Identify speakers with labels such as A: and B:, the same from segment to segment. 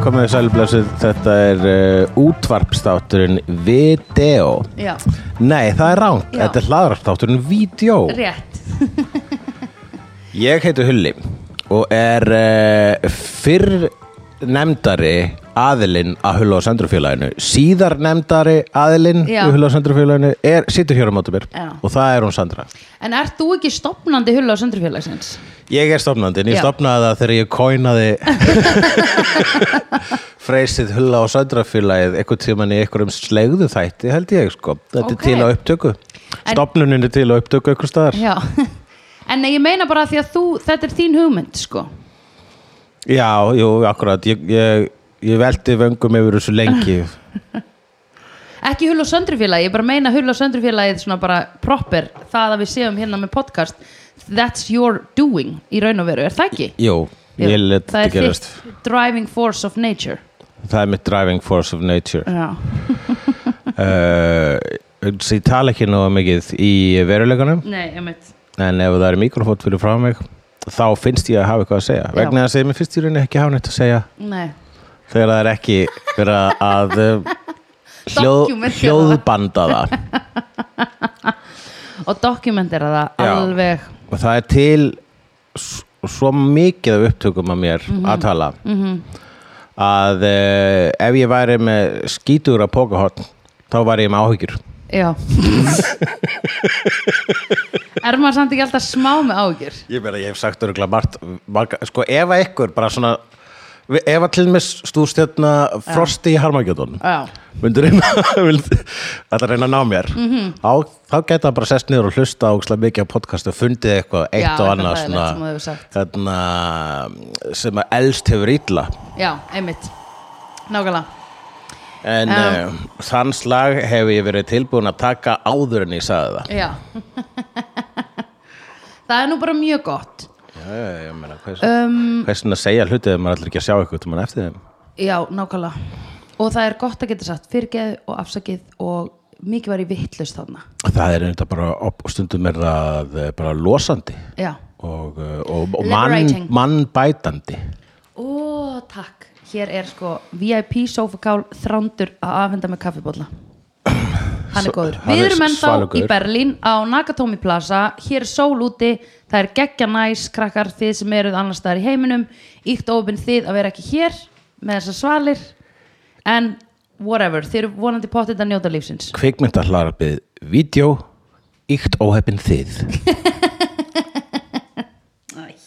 A: Komið þið sælblessið, þetta er uh, útvarpstátturinn Video
B: Já,
A: Nei, það er ránk,
B: Já.
A: þetta er hlaðarpstátturinn Video
B: rétt
A: Ég heiti Hulli og er uh, fyrr nefndari aðilinn að Hulla og Sandrufélaginu síðar nefndari aðilinn
B: Já.
A: að Hulla og Sandrufélaginu er, situr hér á móti mér
B: Já.
A: og það er hún Sandra
B: En ert þú ekki stopnandi hulla á söndrufélagsins?
A: Ég er stofnandi, en ég
B: Já.
A: stofnaði það þegar ég kóinaði freysið hulla og söndrafélagið eitthvað tíman í einhverjum slegðu þætti held ég sko, þetta
B: Ok.
A: er til á upptöku stofnunin er til á upptöku einhver staðar
B: Já En ég meina bara því að þú, þetta er þín hugmynd sko
A: Já, jú, akkurat ég, ég, ég velti vöngum yfir þessu lengi
B: Ekki hulla á söndrufélagi, ég bara meina hulla á söndrufélagið svona bara proper Það að við séum hérna með podcast That's your doing í raun og veru, er það ekki?
A: Jú, ég let þetta
B: það er
A: gerast
B: þitt driving force of nature
A: Það er mitt driving force of nature
B: Já,
A: uh, Ég tala ekki nóga mikið í veruleikanum
B: nei, einmitt
A: en ef það er mikrofót fyrir frá mig þá finnst ég að hafa eitthvað að segja
B: Já.
A: vegna þess að mér finnst í rauninni ekki hafa neitt að segja
B: Nei,
A: þegar það er ekki verið að uh, hljóð,
B: Dokumentera
A: hljóðbanda það
B: og dokumentera það
A: Já.
B: alveg
A: og það er til s- svo mikið af upptökum að mér að tala -hmm. að uh, ef ég væri með skítur að pókahotn þá væri ég með áhyggjur
B: Já Er maður samt ekki alltaf smá með ágjur?
A: Ég meina, ég hef sagt örgulega margt, marga, sko ef að ykkur bara svona við- ef að til með stústjarna frosti hérna í Harmageddon
B: Já,
A: myndur reyna að reyna að ná mér
B: Mhm.
A: á, þá geta það bara sest niður og hlusta á ógeðslega mikið á podcast og fundið eitthvað eitt
B: Já,
A: og
B: eitthvað
A: annað
B: hræðilegt
A: svona,
B: sem þú hefur sagt.
A: þarna, sem að elst hefur illa
B: já, einmitt Nákvæmlega
A: en
B: Já.
A: uh, þann slag hef ég verið tilbúin að taka áður en ég sagði það
B: Já Það er nú bara mjög gott
A: Já, já, ég meina, hvers, um, hversin að segja hlutið ef maður allir ekki að sjá eitthvað til mann eftir þeim
B: Já, nákvæmlega Og það er gott að geta sagt fyrirgeð og afsakið og mikið var í vittlust þarna
A: Það er þetta bara, op- stundum er það eh, bara losandi
B: Já
A: og, eh, og, og mann,
B: Liberating.
A: mannbætandi
B: Ó, takk Hér er sko VIP sofakál þrándur að afhenda með kaffibólla Hann er
A: Svo-
B: góður
A: hann
B: Við
A: er
B: erum ennþá
A: svalur
B: í
A: gaur.
B: Berlín á Nakatomi Plaza Hér er sól úti, það er geggja næs krakkar þið sem eruð annars staðar í heiminum Íkt ofin þið að vera ekki hér með þessar svalir en whatever, þið eru vonandi pottið að njóta lífsins
A: Kvikmyndahlaðarpið Vídeó Íkt óheppin þið
B: Æ,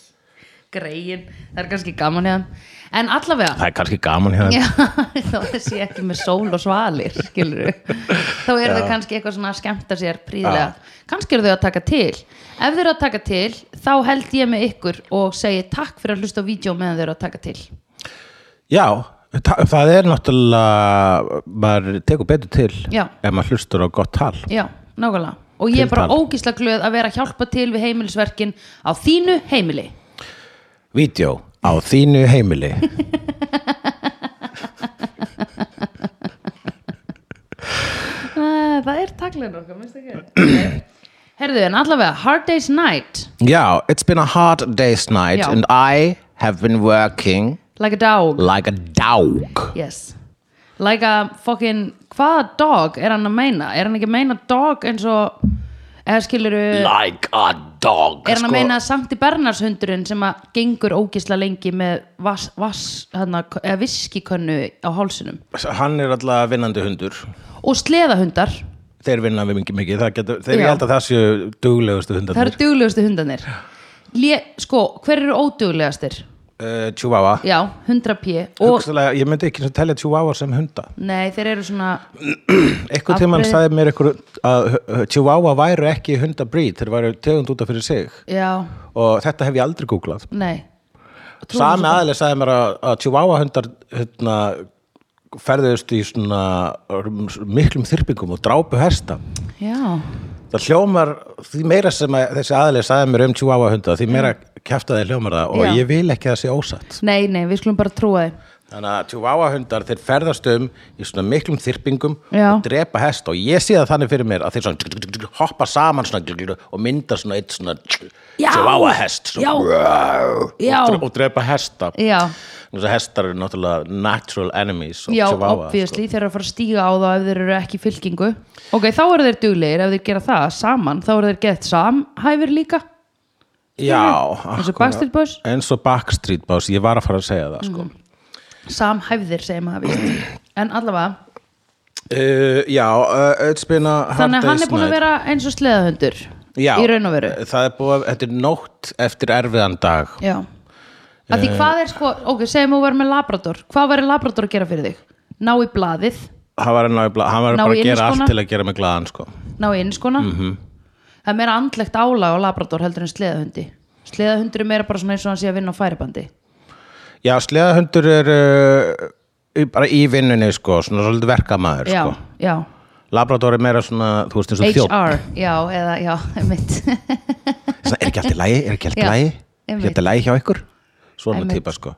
B: Greyin, það er kannski gaman hérna En allavega
A: Það er kannski gaman hérna
B: Já, þó þessi ekki með sól og svalir skilur þá eru þau kannski eitthvað svona að skemmta sér príðilega kannski eru þau að taka til ef þau eru að taka til, þá held ég með ykkur og segi takk fyrir að hlusta á vídeo meðan þau eru að taka til
A: Já, ta- það er náttúrulega maður tekur betur til
B: Já.
A: ef maður hlustur á gott tal
B: já, nákvæmlega og ég er bara
A: Tiltal.
B: ógísla glöð að vera að hjálpa til við heimilisverkin á þínu heimili
A: Vídeó á þínu heimili
B: Æ, það er taklinn okkar, minnst ekki herðu, en allavega, Hard Day's Night
A: Já, it's been a hard day's night
B: Já.
A: and I have been working
B: like a dog
A: like a dog
B: Yes Like a fucking Hvaða dog er hann að meina? Er hann ekki að meina dog eins og eða skiluru
A: Like a dog
B: Er hann
A: sko.
B: að meina Sankti Bernarshundurinn sem að gengur ógisla lengi með vass, vass hana, eða viskikönnu á hálsinum
A: Hann er alltaf vinnandi hundur
B: og sleðahundar,
A: þeir vinna við mikið mikið það getur, þeir
B: Já.
A: ég held að það séu duglegustu
B: það eru
A: hundarnir
B: duglegustu hundarnir Lé, sko, hver eru óduglegastir?
A: uh, Chihuahua
B: Já, 100 p og,
A: Hugsalega, ég myndi ekki telja Chihuahua sem hunda
B: Nei, þeir eru svona
A: eitthvað tímann
B: Afbrigði.
A: sagði mér eitthvað að uh, Chihuahua væru ekki hundabreed þeir væru tegund út af fyrir sig
B: Já,
A: og þetta hef ég aldrei googlað
B: nei Trúum
A: sami
B: þessu bara.
A: aðli sagði mér að, að Chihuahua hundar hérna, ferðust í svona um, miklum þyrpingum og drápu hesta
B: Já,
A: það hljómar, því meira sem að, þessi aðli sagði mér um Chihuahua hunda því meira kjaftaði hljómar það og
B: Já.
A: ég vil ekki að það sé ósatt
B: nei, nei, við skulum bara trúa þeim
A: Þannig að Chihuahua hundar þeir ferðast um í svona miklum þyrpingum
B: Já.
A: og drepa hest og ég sé það þannig fyrir mér að þeir svona hoppa saman svona og mynda svona eitt svona
B: Já.
A: Chihuahua hest svona,
B: Já.
A: og,
B: Já.
A: og drepa hesta.
B: Já,
A: þess að hestar eru náttúrulega natural enemies of
B: Já,
A: Chihuahua, sko.
B: obviously, þeir eru að fara að stíga á þá ef þeir eru ekki í fylkingu Ok, þá eru þeir duglegir ef þeir gera það saman, þá eru þeir gett samhæfir líka
A: sko. Já,
B: eins og
A: akkurat.
B: Backstreet Boys Mm.
A: eins og Backstreet Boys, ég var að fara að segja það sko.
B: Samhæfðir, segir maður vist En allavega,
A: uh, Já, uh, it's been a hard
B: þannig að hann
A: day's
B: er búin að
A: night.
B: vera eins og sleðahundur
A: já, Eh,
B: í raun og veru
A: Það er búið, að- þetta er nótt eftir erfiðan dag
B: Já Af
A: eh.
B: því hvað er sko, ok, segjum við verðum með Labrador Hvað væri Labrador að gera fyrir þig? Ná í blaðið,
A: Hann var, að ná í bla- hann var
B: Ná
A: bara
B: í
A: að gera
B: inniskóna.
A: allt til að gera mig glaðan sko.
B: ná í innskona
A: Mhm.
B: Það er meira andlegt álag á Labrador heldur en sleðahundi Sleðahundur er meira bara svona eins og hann sé að vinna á færibandi
A: Já, sleðahundur er uh, í- bara í vinnunni sko, svona svolítið verkamaður
B: Já,
A: sko.
B: já
A: Labrador er meira svona, þú veist eins og þjótt
B: HR, já, eða, já, mitt
A: Svona, er ekki allt í lægi, er ekki allt í
B: Já,
A: lægi er
B: einmitt.
A: ekki allt í lægi hjá ykkur svona
B: Einmitt.
A: típa sko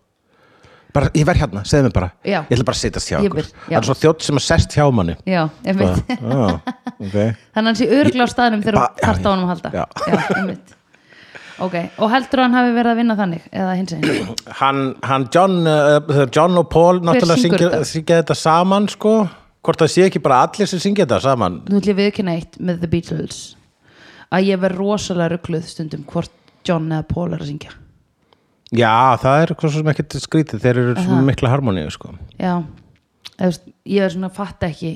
A: bara, ég verð hérna, segðu mér bara
B: Já.
A: ég ætla bara að setjast hjá
B: Ég
A: ykkur
B: vil, já.
A: það er svo þjótt sem að sest hjá manni
B: Já, einmitt
A: ah, okay.
B: Þannig að hann sé örgla á staðnum þegar
A: Ba-
B: þú þarft á
A: já,
B: honum að halda
A: já.
B: einmitt Ok, og heldur hann hafi verið að vinna þannig eða hins einn
A: hann, hann John, uh, John og Paul náttúrulega
B: syngur
A: syngja,
B: þetta?
A: syngja þetta saman sko hvort það sé ekki bara allir sem syngja þetta saman
B: Nú ætlum ég viðkynna eitt með The Beatles að ég verð rosalega rugluð stundum hvort John eða Paul er að syngja
A: já, það er hvað sem ekkert skrítið þeir eru svona mikla harmoníu sko
B: Já, eða, þú veist, ég er svona að fatta ekki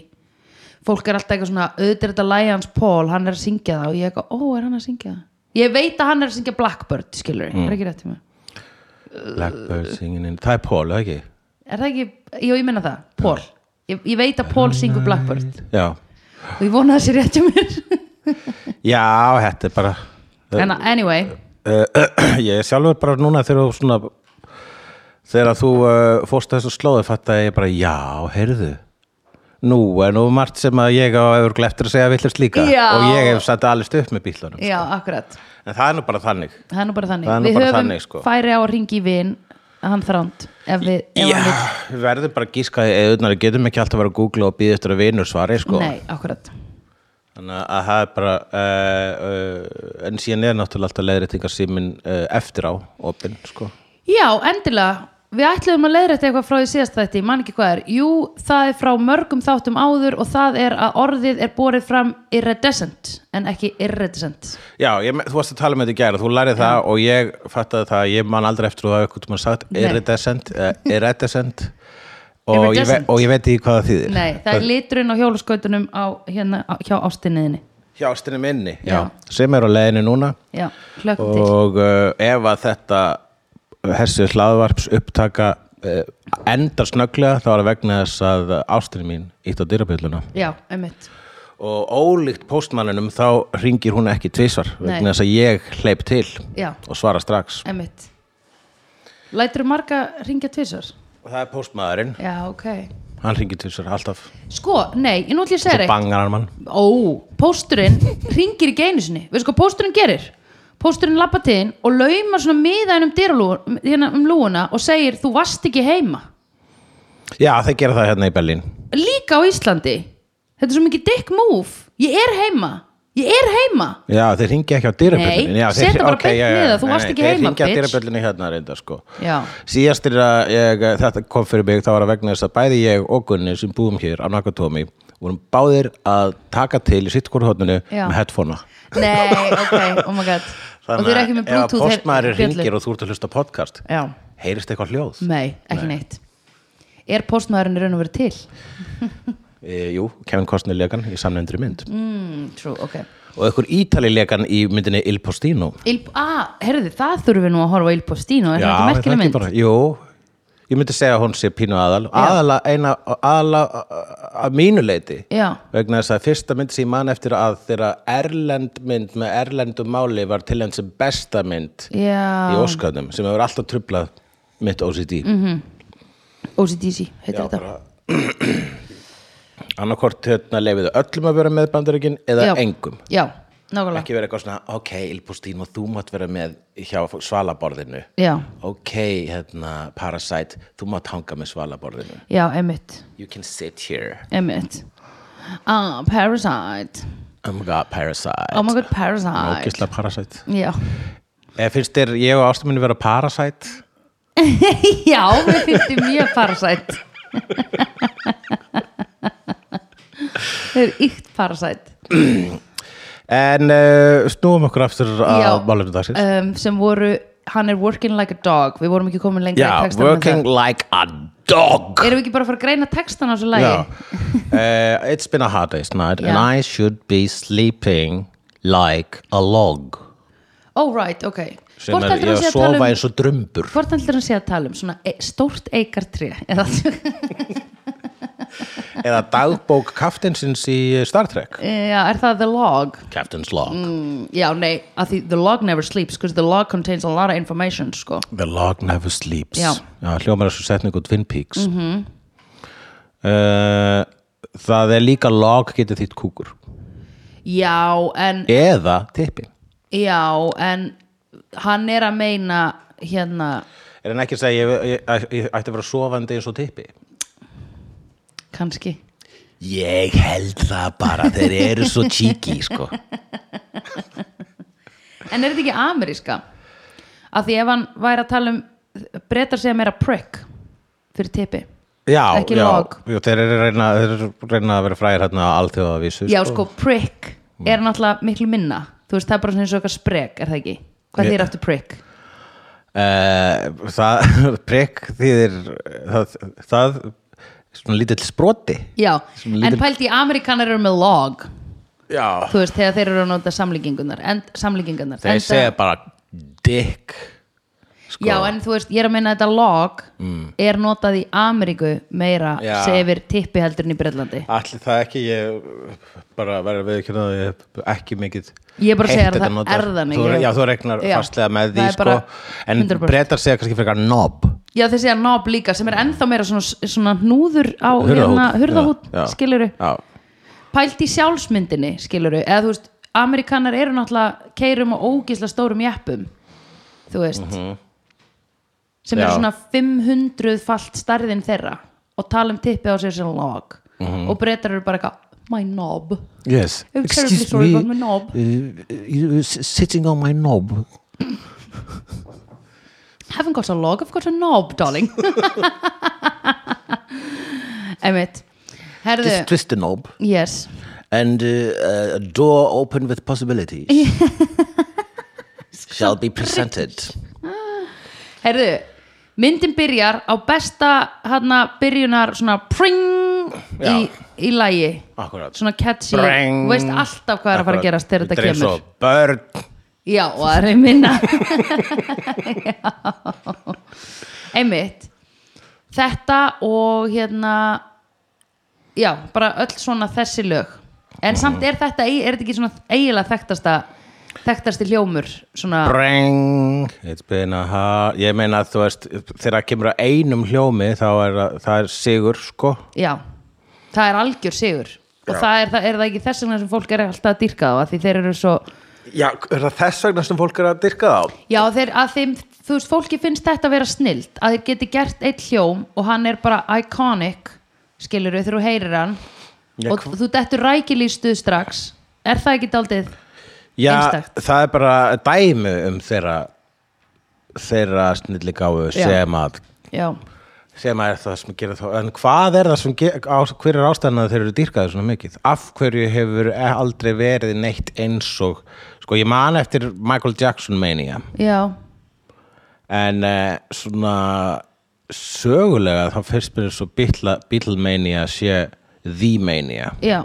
B: Fólk er alltaf eitthvað svona auðvitað er þetta Lions Paul, hann er að syngja það og ég er eitthvað, ó, er hann að syngja það? Ég veit að hann er að syngja Blackbird, skilur ég,
A: Mm.
B: er ekki rétt til mig
A: Blackbird singing in, það er Paul, það ekki
B: Er það ekki, jú ég meina það, Paul ég, ég veit að Paul syngur Blackbird
A: já,
B: og ég vona að það sé rétt hjá mér
A: já, þetta er bara
B: En að- anyway,
A: uh, ég er sjálfur bara núna þegar þú svona þegar þú uh, fórst að þessu slóðu fatt að ég bara, já, heyrðu nú er nú margt sem að ég á öðruglega eftir að segja villur slíka
B: Já.
A: og ég hef satt alveg stupp með bílunum
B: já, akkurat
A: en það er nú bara þannig
B: Það er nú bara þannig,
A: Það er nú
B: við
A: bara
B: höfum
A: þannig, sko.
B: færi á að ringi í vin hann þránd, ef við ef
A: já,
B: hann vill.
A: við verðum bara að gíska eðunar, við getum ekki alltaf að vera að googla og býða eftir að vinur svari sko.
B: Nei, akkurat
A: þannig að það er bara uh, uh, en síðan er náttúrulega alltaf leiðréttingar símin uh, eftir á opinn, sko
B: Já, endilega Við ætluðum að leiðrætta eitthvað frá því síðast þætti, ég man ekki hvað er. Jú, það er frá mörgum þáttum áður og það er að orðið er borið fram irredescent en ekki irredescent.
A: Já, ég, þú varst að tala með þetta í gæra, þú lærið það og ég fattaði það, að ég man aldrei eftir þú hafa eitthvað mann sagt,
B: Nei.
A: iridescent eh, iridescent og, ég ve-
B: Iridescent.
A: og ég veit ekki hvað það þýðir
B: Nei, það er liturinn á hjóluskautunum á, hérna, á, hjá ástinniðinni.
A: hjá ástinni minni, já.
B: Já.
A: sem er á leiðinu núna
B: Já, hlökkum til.
A: og uh, ef að þetta hessi hlaðvarps upptaka uh, endar snögglega þá er það vegna þess að ástinni mín ítt á dyrabjölluna
B: Já, einmitt.
A: og ólíkt postmanninum þá ringir hún ekki tvisvar
B: Nei.
A: vegna þess að ég hleyp til
B: Já,
A: og svara strax
B: einmitt. Lætur marga ringja tvisar?
A: og það er postmaðurinn
B: Já, ok.
A: Hann ringir til sér alltaf
B: Sko, nei, ég nú ætlum ég að segja
A: Svo
B: þér eitt.
A: bangar hann mann
B: ó, pósturinn ringir ekki einu sinni, veistu hvað pósturinn gerir pósturinn lappa til þín og laumar svona miðaðin um dyralúna hérna um lúuna og segir þú varst ekki heima
A: Já, þeir gera það hérna í Berlín
B: líka á Íslandi þetta er svo mikið dick move ég er heima, ég er heima
A: Já, þeir ringi ekki á dyrabjöllinu
B: Nei,
A: já, þeir-
B: setja bara
A: ok,
B: beint
A: já, já,
B: niður, þú
A: nei,
B: varst
A: nei,
B: ekki heima,
A: Þeir ringi á
B: bitch.
A: dyrabjöllinu hérna reynda sko
B: já,
A: Síðastir að ég, eh, þetta kom fyrir mig þá var að vegna þess að bæði ég og Gunni sem búum hér á Nakatomi vorum báðir að taka til í sitt hvort hótninu
B: Já.
A: með headphonea
B: nei, ok, oh my god og þau eru ekki með
A: ef að
B: bluetooth
A: postmaður
B: bjöllur.
A: ringir og þú ert að hlusta á podcast
B: já,
A: heyrist eitthvað hljóð?
B: nei, ekki neitt er postmaðurinn í raun og verið til
A: E, jú, Kevin Costner legan í samnefndri mynd
B: mm, true, ok
A: og einhver ítali legan í myndinni Il Postino
B: Il, ah, herði, það þurfum við nú að horfa á Il Postino, er það ekki
A: er
B: merkileg mynd?
A: bara- Jú, ég myndi segja að hún sé pínu aðal aðala, eina, aðala að mínu leiti
B: Já,
A: vegna þess að fyrsta mynd sem ég man eftir að þegar erlend mynd með erlendum máli var til enn sem besta mynd í
B: já, Mhm.
A: Óskarnum sem hefur alltaf trublað mitt OCD
B: OCDC heitir þetta
A: annarkort hérna lefiðu öllum að vera með bandaríkin eða
B: já.
A: engum
B: Já, nákvæmlega
A: ekki vera eitthvað svona, ok, Ilbústín og þú mátt vera með hjá svalaborðinu
B: Já,
A: ok, hérna, Parasite þú mátt hanga með svalaborðinu
B: já, emitt,
A: You can sit here.
B: emitt Ah, Parasite
A: Oh my god, Parasite.
B: Oh my god, Parasite
A: Ógislega Parasite.
B: Já,
A: Eh, finnst þér ég og ástum minni vera Parasite?
B: já, við fyrstum mjög parasætt þau eru ykt parasætt
A: En uh, snúum okkur aftur
B: Já.
A: að málefnum dagsins.
B: um, sem voru, hann er working like a dog við vorum ekki komin lengra í
A: Já,
B: textanum en
A: working like a dog.
B: það. erum við ekki bara að fara að greina textan á þessu lagi
A: Já. Uh, it's been a hard day's night and
B: Já.
A: I should be sleeping like a log.
B: oh right, ok
A: Sem
B: hvort
A: er ég
B: heldur hann
A: að
B: sé að tala
A: sofa
B: um
A: eins og drumbur.
B: hvort heldur hann sé að tala um svona e stórt eikartré eða
A: Eða dagbók kaftinsins í Star Trek.
B: Já, er það the log?
A: Captain's log.
B: Mm, Já, nei, að því the log never sleeps because the log contains a lot of information, sko
A: The log never sleeps.
B: Já. Mhm.
A: Já hljómar þessu setningu Twin Peaks. Mm það er líka log getur þýtt kúkur.
B: Já, en,
A: Eða tippin.
B: já, en hann er að meina hérna,
A: Er hann ekki að segja ég, ég, ég, ég ætti að vera sofandi eins og tippi?
B: kannski
A: Ég held það bara, þeir eru svo cheeky, sko.
B: En er þetta ekki ameríska? Af því ef hann væri að tala um breytar segja meira prick fyrir tippi
A: Já,
B: Ekki
A: já,
B: log.
A: já, þeir eru að reyna, þeir eru að reyna að vera fræðir hérna á alþjóðavísu.
B: Já, sko, prick er náttúrulega miklu minna Þú veist, það er bara svona eins og eitthvað sprek, er það ekki? Hvað
A: Ég-
B: þýr aftur prick?
A: Uh, það, prekk þýðir, það, það, svona lítill sproti.
B: Já,
A: Svona lítil-
B: en pælt í ameríkanar eru með log
A: Já.
B: þú veist, þegar þeir eru að nota samlíkingunar en samlíkingunar
A: Þeir segja bara dick, sko. Mm.
B: já, en þú veist, ég er að meina að þetta log er notað í Ameríku meira
A: Já.
B: segir tippi heldur en í Bretlandi
A: Allir það ekki, ég bara verður við ekki að ég hef ekki mikið
B: Ég er bara að segja
A: heyrt
B: að
A: þetta
B: það
A: notað.
B: er það mikið.
A: Þú, Já, þú regnar
B: Já.
A: fastlega með því
B: Það er
A: sko,
B: bara
A: en
B: 100%.
A: breytar segja kannski frekar nob
B: já, þeir segja nob líka sem er ennþá meira svona, svona hnúður á hurðahút
A: Já, já.
B: skiluru,
A: Já,
B: pælt í sjálfsmyndinni skiluru, eða þú veist, Ameríkanar eru náttúrulega keirum og ógisla stórum jeppum þú veist sem eru
A: Mhm. Já.
B: svona 500 falt stærðin þeirra og tala um tippi á sér sem log
A: Mhm.
B: og breytar eru bara eitthvað my knob
A: yes
B: I'm terribly sorry about my knob.
A: uh, Sitting on my knob
B: haven't got a log, I've got a knob darling emitt herðu,
A: Just twist the knob
B: yes
A: And uh, a door open with possibilities Shall be presented
B: herðu, myndin byrjar á besta hana byrjunar svona pring í, í lægi
A: Akkurat
B: svona catchy,
A: Breng.
B: þú veist alltaf hvað er að fara að gerast þegar þetta
A: Þetta er
B: kemur
A: svo börn
B: Já, og það er minna Já Einmitt Þetta og hérna Já, bara öll svona þessi lög En samt er þetta, eigi- er þetta ekki svona eiginlega þekktasta þekktasti hljómur svona,
A: Breng It's been a hard Ég meina að þú veist þegar kemur að einum hljómi þá er það, það er sigur sko
B: Já, það er algjör sigur og
A: Já.
B: það er, það er það ekki þess vegna sem fólk er alltaf að dýrka þá að því þeir eru svo
A: Já, er það þess vegna sem fólk er að dyrka þá?
B: Já, þeir, að þeim, þú veist, fólki finnst þetta að vera snilt að þeir geti gert eitt hljóm og hann er bara iconic skilur við þegar þú heyrir hann
A: Já,
B: og þú dettur rækilega í stuð strax er það ekki daldið?
A: Já,
B: Einstakt.
A: það er bara dæmi um þeirra þeirra snilligáfu
B: Já.
A: sem að
B: Já,
A: sem að er það sem gerir þá en hvað er það sem gerir, á, hver er ástæðan að þeir eru dýrkaði svona mikið af hverju hefur e- aldrei verið neitt eins og sko ég man eftir Michael Jackson mania
B: já,
A: en uh, svona sögulega þá fyrst mér svo Beatla- Beatlemania sé The Mania
B: já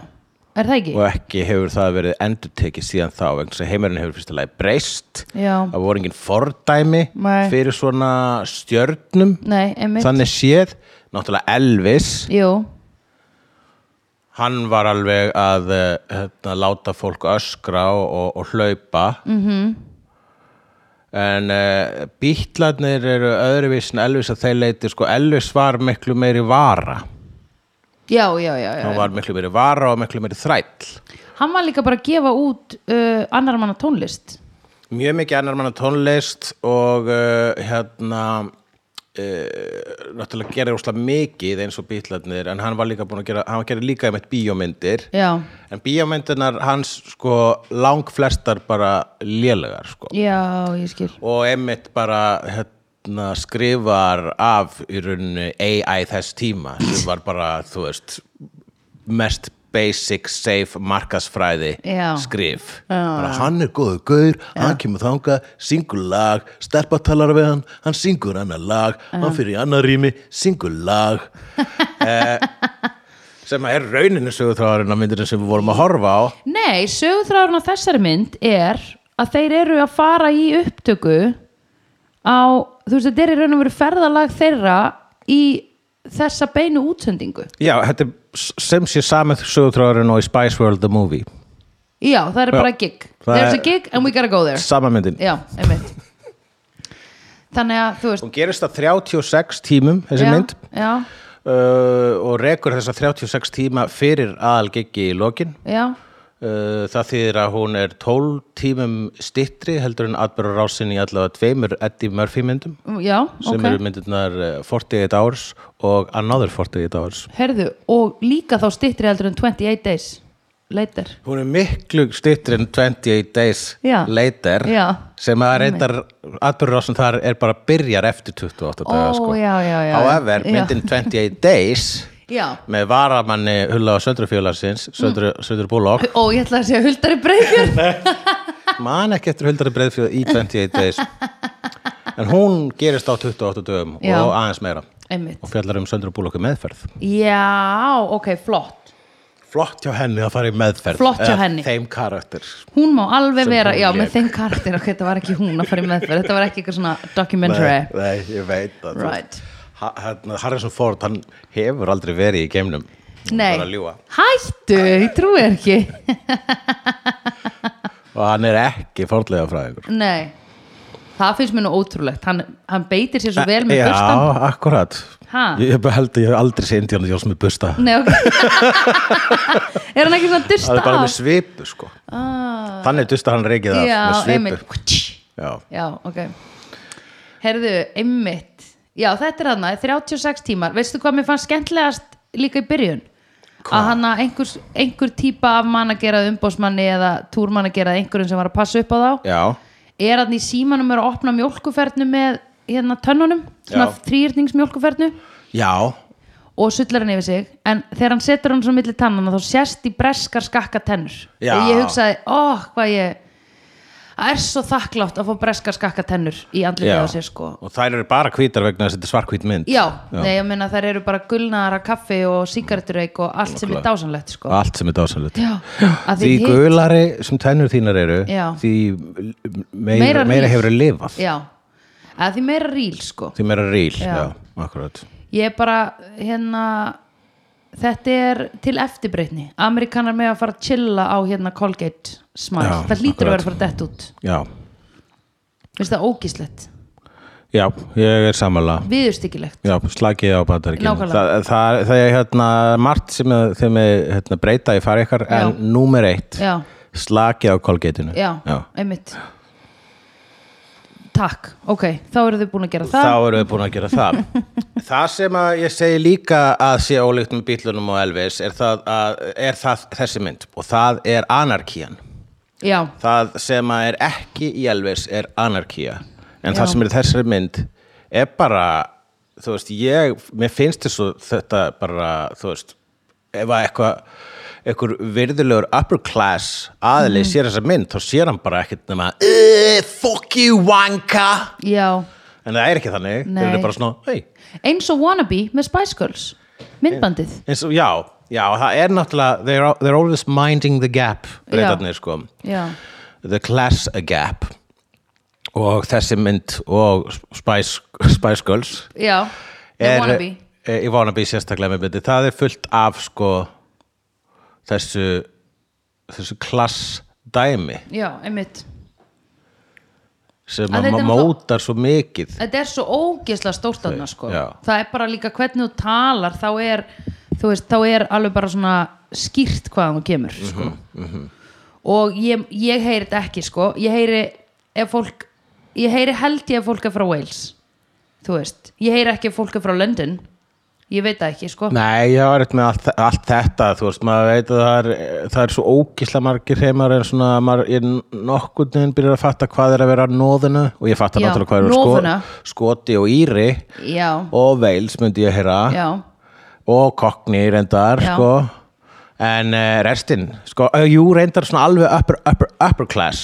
B: er það ekki?
A: og ekki hefur það verið endurtekið síðan þá vegna sem heimurinn hefur fyrst að leið breyst
B: Já,
A: það voru engin fordæmi
B: Nei.
A: fyrir svona stjörnum
B: nei, einmitt
A: þannig séð, náttúrulega Elvis
B: Jú,
A: hann var alveg að eh, hérna, láta fólk öskra og, og, og hlaupa -hmm. en uh, bítlarnir eru öðruvís en Elvis að þeir leiti sko Elvis var miklu meiri vara
B: já, já, já, já.
A: hann var miklu meiri vara og miklu meiri þræll
B: Hann var líka bara að gefa út uh, annar manna tónlist
A: mjög mikið annar manna tónlist og uh, hérna Uh, náttúrulega gerir óslega mikið eins og bítlarnir en hann var líka búin að gera hann gerir líka einmitt bíómyndir
B: Já,
A: En bíómyndunar hans sko langflestar bara lélegar sko
B: já, ég skil
A: og einmitt bara hér- hérna, skrifar af í rauninni AI þess tíma sem var bara, þú veist mest basic, safe markasfræði
B: Já.
A: skrif bara hann er góðu gaur, hann kemur þangað syngur lag, stelpa talar við hann hann syngur annar lag hann fyrir í annar rými, syngur lag eh, sem er rauninni sögutráðurinn af myndirinn sem við vorum að horfa á
B: Nei, sögutráðurinn á þessari mynd er að þeir eru að fara í upptöku á, þú veist, þetta er í raun og veru ferðalag þeirra í þessa beinu útsendingu.
A: Já, þetta er s- sem sé samið sögutráðurinn og í Spice World the Movie
B: Já, það er
A: Já.
B: bara gig.
A: Það
B: There's
A: er-
B: a gig and we gotta go there.
A: sama myndin
B: Já, einmitt. Þannig að, þú veist,
A: Hún gerist að 36 tímum þessi
B: já,
A: mynd
B: já,
A: uh, og rekur þessa 36 tíma fyrir aðalgeggi í lokin
B: já,
A: Uh, það þýðir að hún er 12 tímum stittri heldur en atbyrður rásin í allavega tveimur Eddie Murphy myndum
B: já,
A: sem
B: ok.
A: eru myndirnar uh, 48 Hours og Another 48 Hours
B: Herðu, og líka þá styttri heldur en 28 days later.
A: Hún er miklu stittri en 28 Days
B: Já.
A: Later
B: Já.
A: sem að reyndar atbyrður rásin þar er bara byrjar eftir 28 daga
B: Ó,
A: sko.
B: já, já, já.
A: However,
B: Já.
A: myndin 28 Days
B: Já.
A: með varamanni Hulla og Söndrufjölarsins
B: Mm.
A: Söndru, Söndru Bullock
B: Ó, ég ætla að segja huldari breyðjörn.
A: man ekki eftir huldari breiðfjöð í 28 days en hún gerist á 28 dögum
B: Já.
A: og aðeins meira
B: Einmitt.
A: og fjallar um söndur og búlokku meðferð
B: Já, ok, flott
A: flott hjá henni að fara í meðferð
B: Flott hjá
A: Eða
B: henni.
A: þeim karakter
B: Hún má alveg
A: Sem
B: vera,
A: hún
B: já,
A: lék.
B: með þeim karakter ok, þetta var ekki hún að fara í meðferð þetta var ekki eitthvað svona documentary
A: nei, nei, ég veit að þú-
B: Right.
A: Ha- hérna, Harrison Ford, hann hefur aldrei verið í geimnum Hann
B: Nei,
A: var að ljúga.
B: hættu, ég trúi þér ekki
A: og hann er ekki fordlega fræðingur
B: Nei, það finnst mér nú ótrúlegt hann, hann beitir sér svo vel með
A: já,
B: burstan
A: akkurat
B: Ha?
A: ég, ég held að ég hef aldrei sé Indiana Jones með busta
B: Nei, ok Er hann ekki svona
A: það
B: dusta
A: er bara með
B: af?
A: svipu sko
B: Ah,
A: þannig dusta hann reikið af
B: já,
A: með svipu
B: einmitt
A: já.
B: Já, ok Herðu, einmitt Já, þetta er hann, 36 tímar Veistu hvað mér fannst skemmtilegast líka í byrjun?
A: Hvað?
B: Að hann að einhver, einhver típa af mann að gera umbósmanni eða túrmann að gera einhverjum sem var að passa upp á þá
A: já,
B: er hann í símanum er að opna mjólkuferðnu með hérna tönnunum svona
A: Já.
B: þrýrningsmjólkuferðnu
A: já
B: og sullar hann yfir sig en þegar hann setur hann svo milli tannana þá sérst í breskar skakka tennur
A: Já.
B: og ég hugsaði, ó, hvað ég það er svo þakklátt að fá breskar skakka tennur í andlinu á sér sko
A: og þær eru bara hvítar vegna þess að þetta er svarkvít mynd
B: já, Nei, ég meina þær eru bara gulnaðara kaffi og sígarettureik og allt sem er
A: Nákvæmlega.
B: dásanlegt
A: og
B: sko
A: allt sem er dásanlegt
B: já, að
A: því
B: því hitt-
A: gulari sem tennur þínar eru
B: Já.
A: því meira,
B: Meira
A: meira, meira
B: rýr.
A: hefur að lifað
B: já, að því meira ríl sko
A: því meira ríl já.
B: Já.
A: akkurat
B: ég er bara, hérna þetta er til eftirbreytni Amerikanar með að fara að chilla á hérna Colgate smile,
A: Já,
B: það lítur
A: akkurat.
B: að vera að fara dett út
A: já,
B: Veist það ógíslegt,
A: já ég er sammála
B: viðurstyggilegt
A: já, slagið á bandaríkjum
B: Nákvæmlega.
A: það, það, það er hérna margt sem er- þeim er hérna, breyta í fari ykkar
B: Já.
A: en númer eitt
B: Já,
A: slagið á kolgeitinu
B: já, einmitt Takk, ok, þá eru þau búin að gera það
A: þá erum við búin að gera það það sem að ég segi líka að sé ólíkt með bílunum og Elvis er það, að, er það þessi mynd og það er anarkían
B: Já,
A: það sem að er ekki í Elvis er anarkía en
B: Já.
A: það sem er í þessari mynd er bara þú veist, ég, mér finnst þessu þetta bara, þú veist ef að eitthvað einhver virðulegur upper class aðli sér þessa mynd, þá sér hann bara ekkert nema, "Eh, fuck you wanka
B: já
A: En það er ekki þannig,
B: Nei.
A: þeir eru bara svona, hei,
B: Eins og Wannabe með Spice Girls myndbandið,
A: eins og, já, já, það er náttúrulega, they're, al- they're always minding the gap, breytarnir, sko,
B: já,
A: the class gap og þessi mynd og Spice, Spice Girls
B: já með Wannabe,
A: er, eh, í Wannabe sérstaklega með myndi, það er fullt af, sko, þessu, þessu klass dæmi
B: já, einmitt
A: sem að
B: Að þetta er
A: ma-
B: náttúrulega-
A: mótar svo mikið.
B: þetta er svo ógeðslega stórt þarna sko.
A: Já.
B: það er bara líka hvernig þú talar þá er, þú veist, þá er alveg bara svona skýrt hvaðan þú kemur
A: Mhm,
B: sko. og ég, ég heyri þetta ekki sko. ég heyri ef fólk ég heyri held ég ef fólk er frá Wales þú veist, ég heyri ekki ef fólk er frá London ég veit það ekki sko
A: Nei, ég var eitthvað með allt, allt þetta þú veist, maður veit að það er, það er svo ógisla margir heimar en svona maður, ég nokkurn veginn byrjar að fatta hvað er að vera nóðinu og ég fatta
B: Já,
A: náttúrulega hvað eru
B: nóðuna.
A: sko, skoti og íri
B: já,
A: og veils myndi ég heyra
B: já,
A: og kokni reyndar
B: Já.
A: sko en uh, restin, sko, uh, jú reyndar svona alveg upper, upper, upper class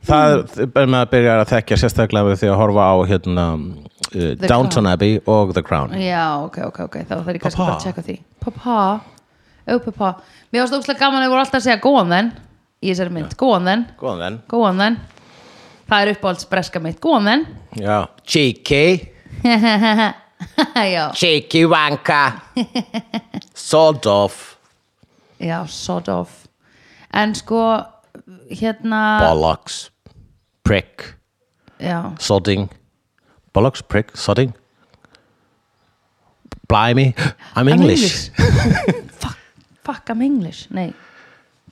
A: það mm. er maður byrjar að þekkja sérstaklega við því að horfa á hérna uh,
B: The
A: Downton Abbey og The Crown
B: já, ok, ok, ok þá þarf ég kannski
A: Papa.
B: bara að tjekka því pappa, ó pappa mér varst ókslega gaman að þið voru alltaf að segja góðan þenn í þessari mynd, góðan þenn
A: góðan þenn
B: góðan þenn, það er uppáhalds breska mitt góðan þenn
A: Já. Cheeky,
B: já,
A: cheeky wanka Sort of
B: já, sort of en sko hérna
A: Bollocks Prick
B: já,
A: Sodding Bollocks, prick, sodding Blimey, I'm English
B: fuck, fuck, I'm English nei,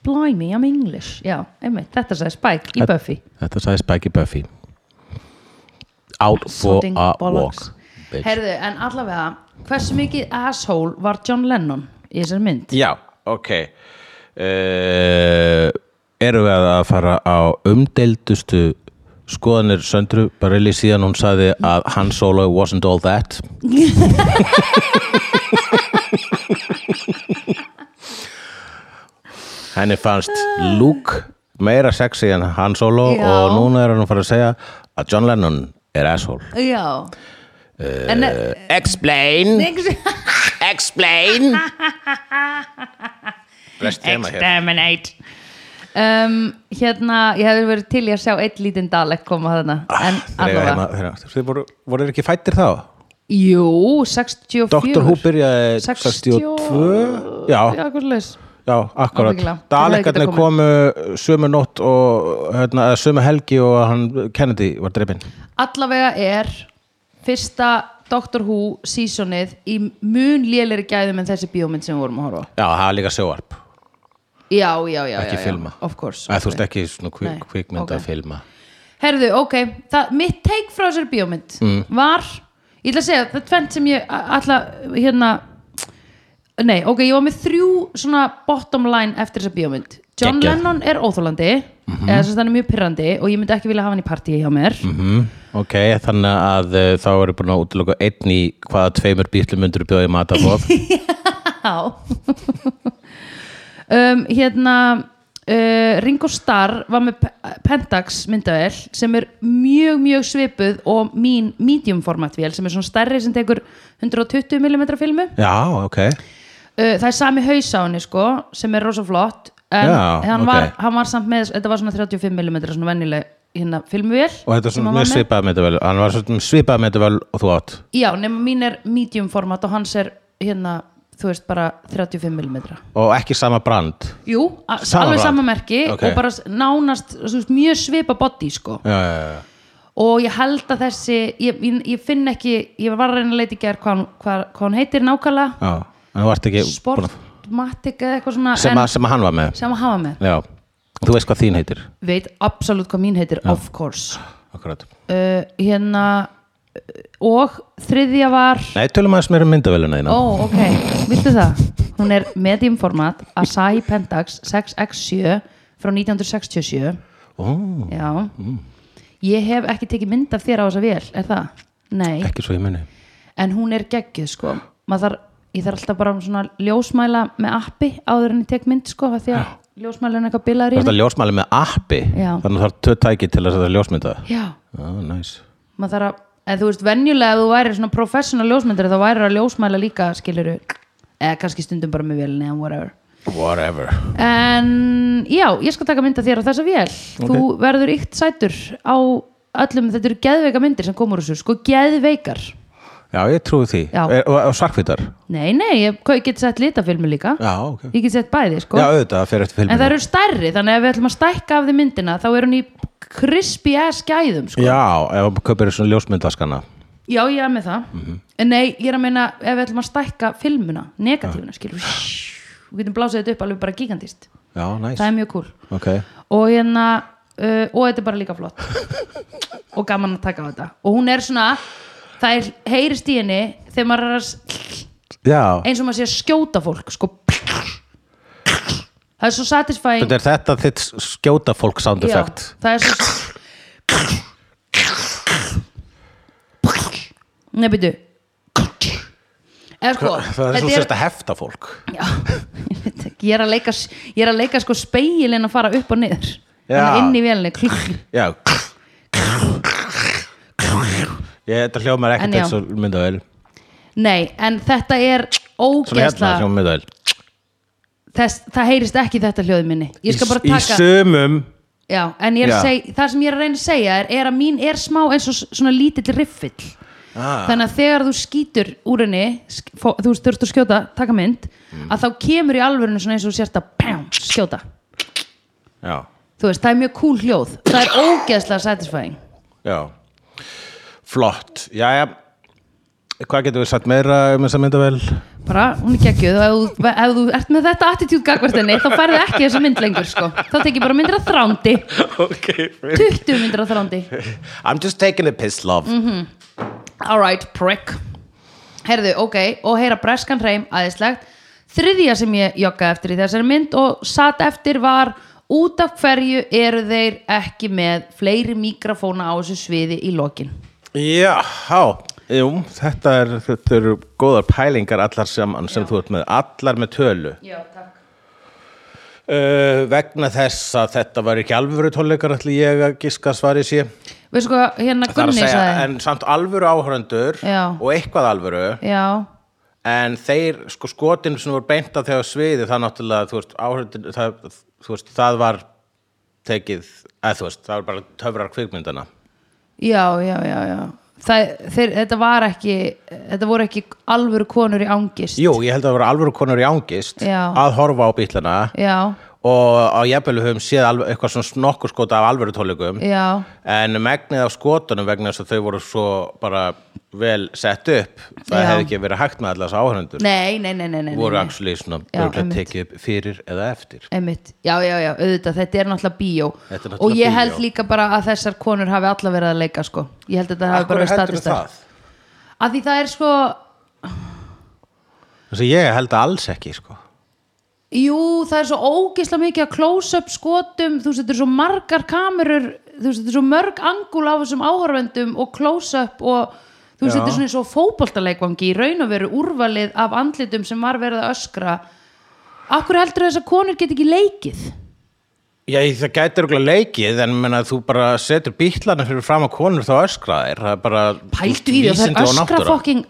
B: blimey, I'm English já, einmitt, þetta sagði Spike í
A: Þetta-
B: Buffy
A: Þetta sagði Spikey Buffy Out for
B: Sodding
A: a
B: bollocks.
A: walk bitch.
B: Herðu, en allavega, hversu mikið asshole var John Lennon í þessari mynd?
A: Já, ok uh, Erum við að fara á umdeildustu skoðanir Söndru Barilli síðan hún sagði að Han Solo wasn't all that Henni fannst Luke meira sexy en Han Solo
B: Já.
A: og núna er hann að fara að segja að John Lennon er asshole
B: Já En eh,
A: Explain,
B: ex-
A: explain Bless tema hér
B: Exterminate um, Hérna, ég hefði verið til í að sjá einn lítinn dalek koma þarna
A: Ah,
B: En allavega,
A: allavega Þið voru, voru hérna, þeir ekki fættir þá?
B: jú, 64
A: Doktor Who byrjaði
B: 62
A: 62 Já,
B: Já, hvað leis
A: já, akkurat
B: Ábyggilega.
A: Dalekarnir
B: Það hefði getað
A: komu uh, sömu nótt og hérna, eða sömu helgi og hann Kennedy var dreipinn
B: allavega er fyrsta Doctor Who seasonið í mun lélir gæðum en þessi bíómynd sem við vorum að horfa á.
A: Já, það var líka sjóarp
B: Já, já, já,
A: Ekki
B: já,
A: filma.
B: já, of course
A: okay. Þú
B: ok.
A: veist ekki svona
B: Nei,
A: kvik, kvikmynda
B: ok.
A: okay. filma
B: Herðu, ok, það, mitt take frá þessari bíómynd var, ég ætla að segja, það er tvent sem ég a- ætla, hérna, nei, ok, ég var með þrjú svona bottom line eftir þessa bíómynd. John
A: Geggjað.
B: Lennon er óþólandi, eða þess að hann er mjög pyrrandi og ég myndi ekki vilja hafa hann í partíi hjá mér.
A: Mm. Mhm, Ok, þannig að uh, þá erum búin að útloka einn í hvaða tveimur býtlum myndur bjóði matabóð
B: Já um, Hérna uh, Ringo Starr var með Pe- Pentax myndavél sem er mjög mjög svipuð og mín medium format vél sem er svona stærri sem tekur 120mm filmu uh,
A: Já, ok
B: Eh, Það er sami haus á henni sko sem er rosa flott en
A: Já,
B: hann,
A: ok.
B: var, hann var samt með, þetta var svona 35mm svona venjuleg hérna filmvél
A: Og þetta er
B: sem
A: svona
B: hann var
A: mjög
B: með.
A: svipað myndavel Hann var svona svipað myndavel og þú átt
B: Já, nema mín er medium format og hans er hérna, þú veist bara 35mm
A: Og ekki sama brand
B: Jú, a-
A: Sama
B: alveg
A: brand.
B: sama merki
A: Ok.
B: og bara s- nánast svo, mjög svipa body sko.
A: Já, já, já
B: og ég held að þessi ég, ég, ég finn ekki, ég var að reyna að leita í gerð hvað, hún- hvað, hvað hún heitir nákvæmlega
A: Já, en þú ert ekki búin að-
B: Sportmatic eða eitthvað svona
A: sem,
B: en,
A: að, sem að hann var með
B: sem að hafa með,
A: Já, þú veist hvað þín heitir
B: veit absolutt hvað mín heitir of course
A: Akkurat
B: uh, hérna uh, og þriðja var
A: Nei, tölum aðeins meira um myndavelina þína
B: Ó, ok, viltu það? Hún er mediumformat Asahi Pentax 6X7 frá 1967
A: Ó,
B: Já Ég hef ekki tekið mynd af þér á þessa vél, er það? Nei,
A: Ekki svo ég muni
B: en hún er geggjuð sko Maður þarf, ég þarf alltaf bara svona ljósmæla með appi áður en ég tek mynd sko af því að ljósmæla er eitthvað bilaður
A: Þú
B: í
A: ert að
B: henni
A: ljósmæli með appi
B: Já.
A: Þannig þarf tvö tæki til þess að það ljósmynda
B: Já,
A: Já, næs
B: maður þarf að En þú veist, venjulega ef þú væri svona professional ljósmyndari þá væri að ljósmæla líka skiluru eða kannski stundum bara með vélinni eða whatever
A: Whatever
B: En já, ég skal taka mynda þér á þessa vél Þú verður ykt sætur á öllum, þetta eru geðveika myndir sem komur þessu, sko geðveikar
A: Já, ég trúi því
B: Já.
A: er, Og, og svarkvítar
B: Nei, nei, ég, hvað, ég get sett litafilmi líka
A: Já, ok
B: Ég get sett bæði, sko
A: Já, auðvitað, það fer eftir
B: En
A: filminu
B: það eru stærri, þannig að ef við ætlum að stækka af því myndina þá er hún í crispy ass gæðum, sko
A: Já, ef þú kaupir svona ljósmyndaskana
B: Já, ég er með það En nei, ég er að meina, ef við ætlum að stækka filmuna, negatífuna, skilur við Við getum blásið þetta upp alveg bara gigantist
A: Já, næs
B: Það er mjög cool
A: Ok
B: og hérna uh, og þetta er bara líka flott og gaman að taka á þetta og hún er svona það er, heyrist í henni þegar maður er að s-
A: Já.
B: eins og maður sé að skjóta fólk sko það er svo satisfying
A: Þetta er þetta þitt skjóta fólk sound
B: Já,
A: effect
B: það er svo Nei, byrju Eða sko
A: Það er
B: þetta
A: svo sérst að hefta fólk
B: Já, ég veit ekki, ég er að leika ég er að leika sko speilin að fara upp og niður
A: Já.
B: Þannig inn í vélinni klukk.
A: Já Ég, þetta hljómar
B: En
A: ekkert
B: já.
A: eins og myndavel
B: Nei, en þetta er
A: Svona hérna
B: ógeðsla
A: hljómar myndavel
B: Þess, það heyrist ekki þetta hljóði minni Ég skal bara
A: Í
B: taka
A: sumum
B: Já, en ég er
A: Já.
B: að segja, það sem ég er að reyna að segja er, er að mín er smá eins og s- svona lítill riffill
A: ah,
B: þannig að þegar þú skýtur úr henni sk- fó- þú veist, þurftu að skjóta, taka mynd
A: Mm.
B: að þá kemur í alvörinu svona eins og þú sérst að pjám, skjóta,
A: Já,
B: þú veist, það er mjög cool hljóð það er ógeðslega satisfying
A: já Flott, jæja Hvað getum við sagt meira um þessa myndavel?
B: bara, hún er geggjöð og ef, þú- ef þú ert með þetta attitút gagvart henni þá færðu ekki þessa mynd lengur, sko þá tekið bara myndir að þrándi,
A: Ok
B: 20 myndir að þrándi
A: I'm just taking a piss love
B: Mhm. alright, prick herðu, ok, og heyra breskan hreim aðeinslegt, þriðja sem ég joggaði eftir í þessari mynd og satt eftir var út af hverju eru þeir ekki með fleiri mikrofóna á þessu sviði í lokin
A: Já, há Jú, þetta, er, þetta eru góðar pælingar allar saman sem þú ert með allar með tölu
B: já, takk
A: uh, vegna þess að þetta var ekki alvöru tónleikar ætli ég að giska að svari sé
B: veistu hvað, hérna
A: Það er að
B: Gunni
A: segja,
B: sagði
A: en samt alvöru áhörundur
B: Já.
A: og eitthvað alvöru
B: já,
A: en þeir sko skotin sem voru beinta þegar sviði það náttúrulega þú veist, áhörundur það, þú veist, það var tekið, eða þú veist, það var bara töfrar kvikmyndana
B: já, já, já, já. Það, þeir, þetta var ekki þetta voru ekki alvöru konur í angist
A: Jú, ég held að það voru alvöru konur í ángist
B: Já.
A: að horfa á bílana
B: já,
A: og á jafnvel höfum séð alveg, eitthvað svona nokkur skota af alvöru tónleikum
B: já
A: en megnið af skotunum vegna þess að þau voru svo bara vel sett upp það
B: Já.
A: hefði ekki verið hægt með allas áhörundur
B: nei, nei, nei, nei, nei, nei.
A: voru actually svona
B: Já,
A: örugglega
B: einmitt.
A: tekið upp fyrir eða eftir
B: Einmitt. Já, já, já, auðvitað, þetta er náttúrulega bíó
A: Þetta er náttúrulega
B: og ég
A: bíó.
B: held líka bara að þessar konur hafi alla verið að leika sko. ég held að þetta hafi bara verið
A: heldur
B: statistar
A: það?
B: að því það er sko,
A: Þess að ég held að alls ekki sko.
B: jú, það er svo ógisla mikið að close-up skotum þú setur svo margar kamerur þú setur svo mörg angul á þessum áhörvendum og close-up og þú
A: Já.
B: setur svona eins og fótboltaleikvangi í raun og veru úrvalið af andlitum sem var verið að öskra Akkur heldur þess að konur get ekki leikið?
A: Já, ég- það gæti örgulega leikið en menna, þú bara setur bílana fyrir fram að konur þá öskra þær það er bara
B: Pældu í því að það
A: vísindi
B: er
A: og
B: öskra
A: náttúra.
B: fokking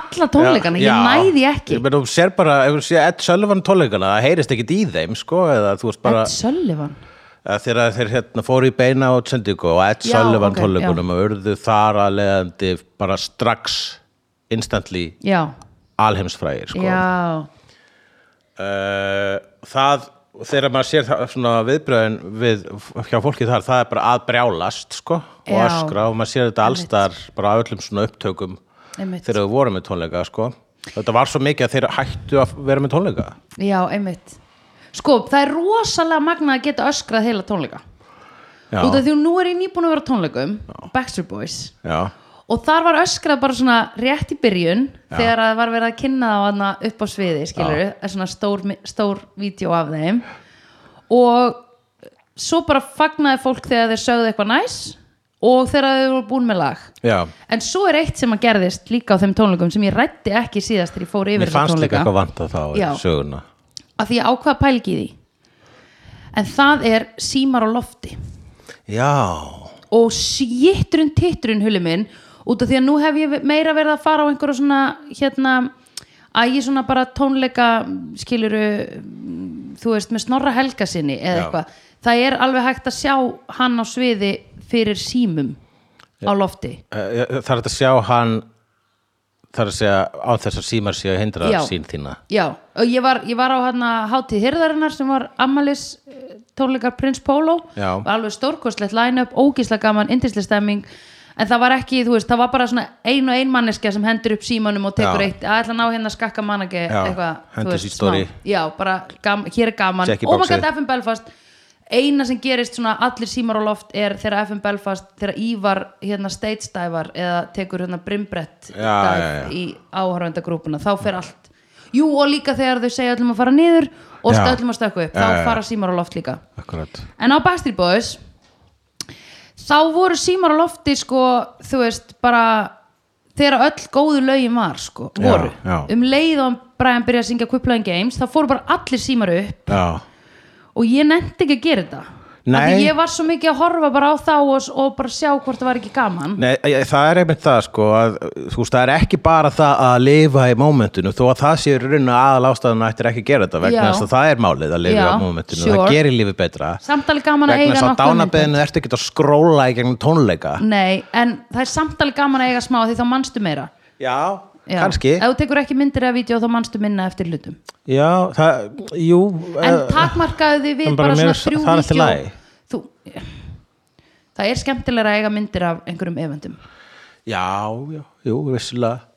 B: alla tónleikana, ég
A: Já,
B: næði
A: já.
B: ekki
A: Ég meina, þú sér bara, ef þú sér Ed Sullivan tónleikana það heyrist ekkit í þeim sko, eða þú veist bara
B: Ed Sullivan
A: að þegar þeir hérna fóru í beina á Tsendigo og Ed
B: Já,
A: Sullivan
B: ok,
A: okay, tónleikunum og urðu þar að leiðandi bara strax instantly
B: já,
A: alheimsfrægir sko.
B: já,
A: uh, það þegar maður sér það, svona viðbröðin við, hjá fólki þar, það er bara að brjálast sko, og
B: Já.
A: öskra og maður sér þetta allstar bara á öllum svona upptökum
B: Einmitt.
A: þegar þau voru með tónleika sko. þetta var svo mikið að þeir hættu að vera með tónleika
B: já, einmitt sko, það er rosalega magnað að geta öskrað heila tónleika
A: já,
B: út af því að nú er ég nýbúin að vera á tónleikum Backstreet Boys
A: já,
B: og þar var öskrað bara svona rétt í byrjun þegar að það var verið að kynna það hana upp á sviði, skilur við er svona stór, mi- stór vídeo af þeim og svo bara fagnaði fólk þegar þeir sögðu eitthvað næs og þegar þeir voru búin með lag
A: já
B: En svo er eitt sem að gerðist líka á þeim tónleikum sem ég rætti ekki síðast þegar ég fór yfir
A: mér
B: þessa
A: fannst líka
B: tónleika
A: eitthvað vantað þá í
B: Já.
A: söguna
B: af því ég ákvaða pælgi í því en það er símar á lofti
A: já
B: og sýtturinn titturinn hulli minn út af því að nú hef ég meira verið að fara á einhverja svona hérna að ég svona bara tónleika skiluru mm, þú veist með snorra helga sinni eða
A: Já.
B: eitthvað það er alveg hægt að sjá hann á sviði fyrir símum á lofti
A: Eh, Það er hægt að sjá hann Það er að segja á þess að símar séu að hindra
B: Já.
A: sín þína
B: Já, og ég var, ég var á hérna hátíð hirðarinnar sem var Amalis tónleikar Prins Pólo
A: Já.
B: og alveg stórkostlegt line-up, ógíslega gaman, indislega stemming en það var ekki, þú veist, það var bara svona ein og ein manneskja sem hendur upp símanum og tekur
A: Já.
B: eitt, að ætla að ná hérna skakka mannagi
A: Já,
B: eitthvað, þú
A: hendir
B: veist,
A: sér í story.
B: smá. Já, bara, gam, hér er gaman
A: Check í
B: Oh my
A: boxið.
B: god, FM Belfast eina sem gerist svona allir símar á loft er þegar FM Belfast, þegar Ívar hérna stage diver eða tekur hérna brimbrett
A: Já, já, já.
B: í áhörvendagrúpuna, þá fer allt jú og líka þegar þau segja öllum að fara niður og
A: Já.
B: öllum að stökku upp,
A: Já, já,
B: þá
A: já.
B: fara símar á loft líka
A: akkurat
B: en á Backstreet Boys þá voru símar á lofti sko, þú veist, bara þegar öll góðu lögin var sko,
A: Já,
B: voru,
A: já.
B: um leið og Brian byrjaði að syngja Quipline Games, þá fóru bara allir símar upp
A: Já,
B: og ég nefndi ekki að gera þetta
A: Nei.
B: af því ég var svo mikið að horfa bara á þá og, og bara sjá hvort það var ekki gaman
A: Nei, ég- það er einmitt það sko að, þú veist, það er ekki bara það að lifa í mómentinu, þó að það sé raun að aðal ástæðan að ættir ekki að gera þetta vegna
B: Já.
A: þess að það er málið að lifa
B: Já,
A: í mómentinu
B: sure.
A: það gerir lífið betra
B: samt alveg gaman að
A: vegna
B: eiga
A: þess að
B: nokkra
A: dánabeðinu ertu ekki að skróla í gegnum tónleika
B: myndir. nei, en það er samt alveg gaman að eiga smá því þá manstu meira
A: Já,
B: Já.
A: kannski
B: ef þú tekur ekki myndir eða vídeo þá manstu minna eftir hlutum
A: Já, það, jú
B: en
A: eh,
B: takmarkaðu þið við
A: en
B: bara,
A: bara mér-
B: svona þrjú
A: það er allt í
B: vídeo
A: lagi.
B: þú, það er skemmtilega að eiga myndir af einhverjum evendum
A: Já, já, jú, vissilega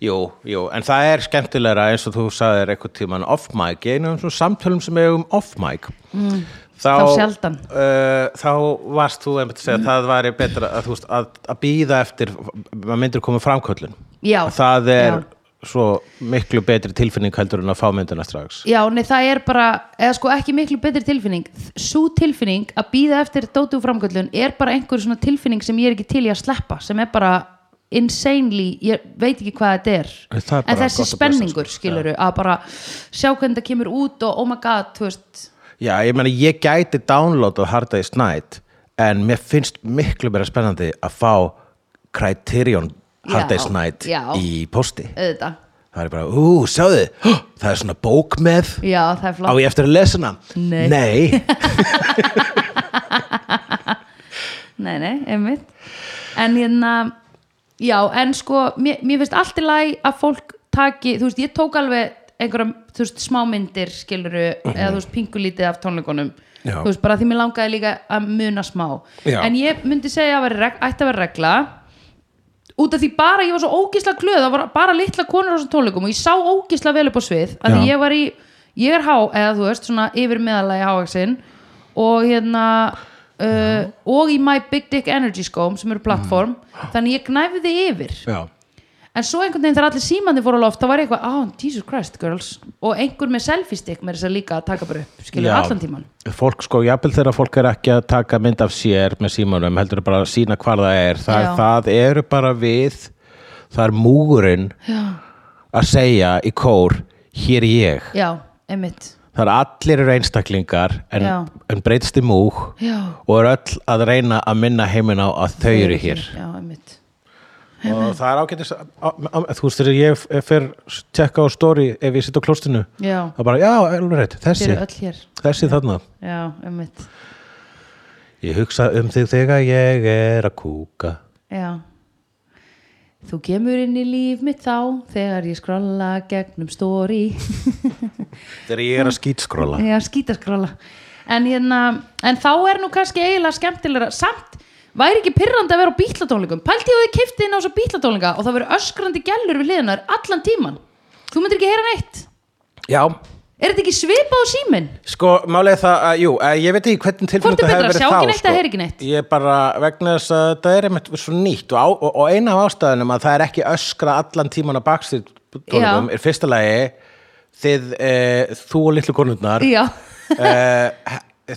A: Jú, jú, en það er skemmtilegra eins og þú sagðir eitthvað tíman off-mic, í einu af þessum samtölum sem eigum off-mic mm,
B: þá sjaldan.
A: eh, Þá varst þú einmitt að segja, það væri betra að, þú veist, að, að býða eftir að myndir koma framköllun
B: Já,
A: Það er
B: já.
A: svo miklu betri tilfinning heldur en að fá myndina strax
B: Já, nei, það er bara, eða sko ekki miklu betri tilfinning Sú tilfinning að býða eftir dótu og framgöllun er bara einhver svona tilfinning sem ég er ekki til í að sleppa sem er bara insanely, ég veit ekki hvað þetta er,
A: En það er
B: en
A: bara gott
B: þessi
A: að blessa,
B: spenningur
A: sko.
B: skiluru, að bara sjá hvernig það kemur út og oh my god, þú veist
A: Já, ég meina, ég gæti downloadað Hard Day's Night en mér finnst miklu meira spennandi að fá Criterion Hard
B: Já,
A: Day's Night
B: já.
A: í posti.
B: auðvitað,
A: Það er bara, ú, sjáðu, hó, það er svona bók með,
B: já, það
A: á
B: er flott
A: ég eftir að lesa hana?
B: Nei.
A: Nei.
B: Nei, nei, einmitt En hérna, já, en sko mér, mér finnst allt í lagi að fólk taki, þú veist, ég tók alveg einhverjum, þú veist, smámyndir skiluru, eða þú veist, pingulítið af tónleikunum
A: Já.
B: þú veist, bara því mér langaði líka að muna smá,
A: Já.
B: en ég myndi segja að vera, ætti að vera regla út af því bara ég var svo ógisla glöð það var bara litla konur á þessum tónleikum og ég sá ógisla vel upp á svið að því
A: Já.
B: ég var í, ég er há eða þú veist, svona yfir meðalagi hávaxin og hérna uh, og í my big dick energy skóm sem
A: Mm.
B: eru plattform, þannig ég gnæfiði yfir
A: já,
B: en svo einhvern veginn þegar allir símandi fóru á loft þá var ég eitthvað, oh Jesus Christ girls og einhver með selfie stick með þess að líka að taka bara upp skilur
A: Já.
B: allan tíman
A: Fólk sko, jafnvel þegar fólk er ekki að taka mynd af sér með símanum, heldur bara að sína hvar það er. Það,
B: Já.
A: það eru bara við, það er múgurinn að segja í kór, hér er ég.
B: já, einmitt
A: Það er allir eru einstaklingar en,
B: Já.
A: en breytst í múg
B: Já.
A: og er öll að reyna að minna heiminn á að þau eru hér
B: já, einmitt
A: og það er ágætis á- á- þú veist þegar ég f- fer tjekka á story ef ég sitt á klostinu
B: já,
A: það er bara, já, alveg rétt,
B: þeir
A: þessi
B: eru öll hér
A: þessi þarna
B: já, einmitt
A: ég hugsa um þig þegar ég er að kúka
B: Já Þú kemur inn í líf mitt þá þegar ég skrolla gegnum story
A: þegar ég er að skýtskróla
B: Já, skítaskrolla en, hérna, en þá er nú kannski eiginlega skemmtilegra samt væri ekki pyrrandi að vera á bítlatónleikum pælti ég að þið kifti inn á svo bítlatónleika og það verið öskrandi gælur við hliðinar allan tíman Þú myndir ekki heyra neitt
A: já,
B: Er þetta ekki svipað á síminn?
A: sko, málið er það að, jú, að ég veit ekki hvernig
B: Hvort
A: tilfinningu
B: er betra,
A: hefur verið þá
B: sjá ekki
A: sko.
B: neitt eða heyra ekki neitt?
A: Ég bara vegna þess að það er einmitt svo nýtt og, á, og, og eina af ástæðunum að það er ekki öskra allan tíman á bakstíð tónleikum
B: Já.
A: er fyrsta lagi þið, e, þú og litlu konundnar e,
B: Já,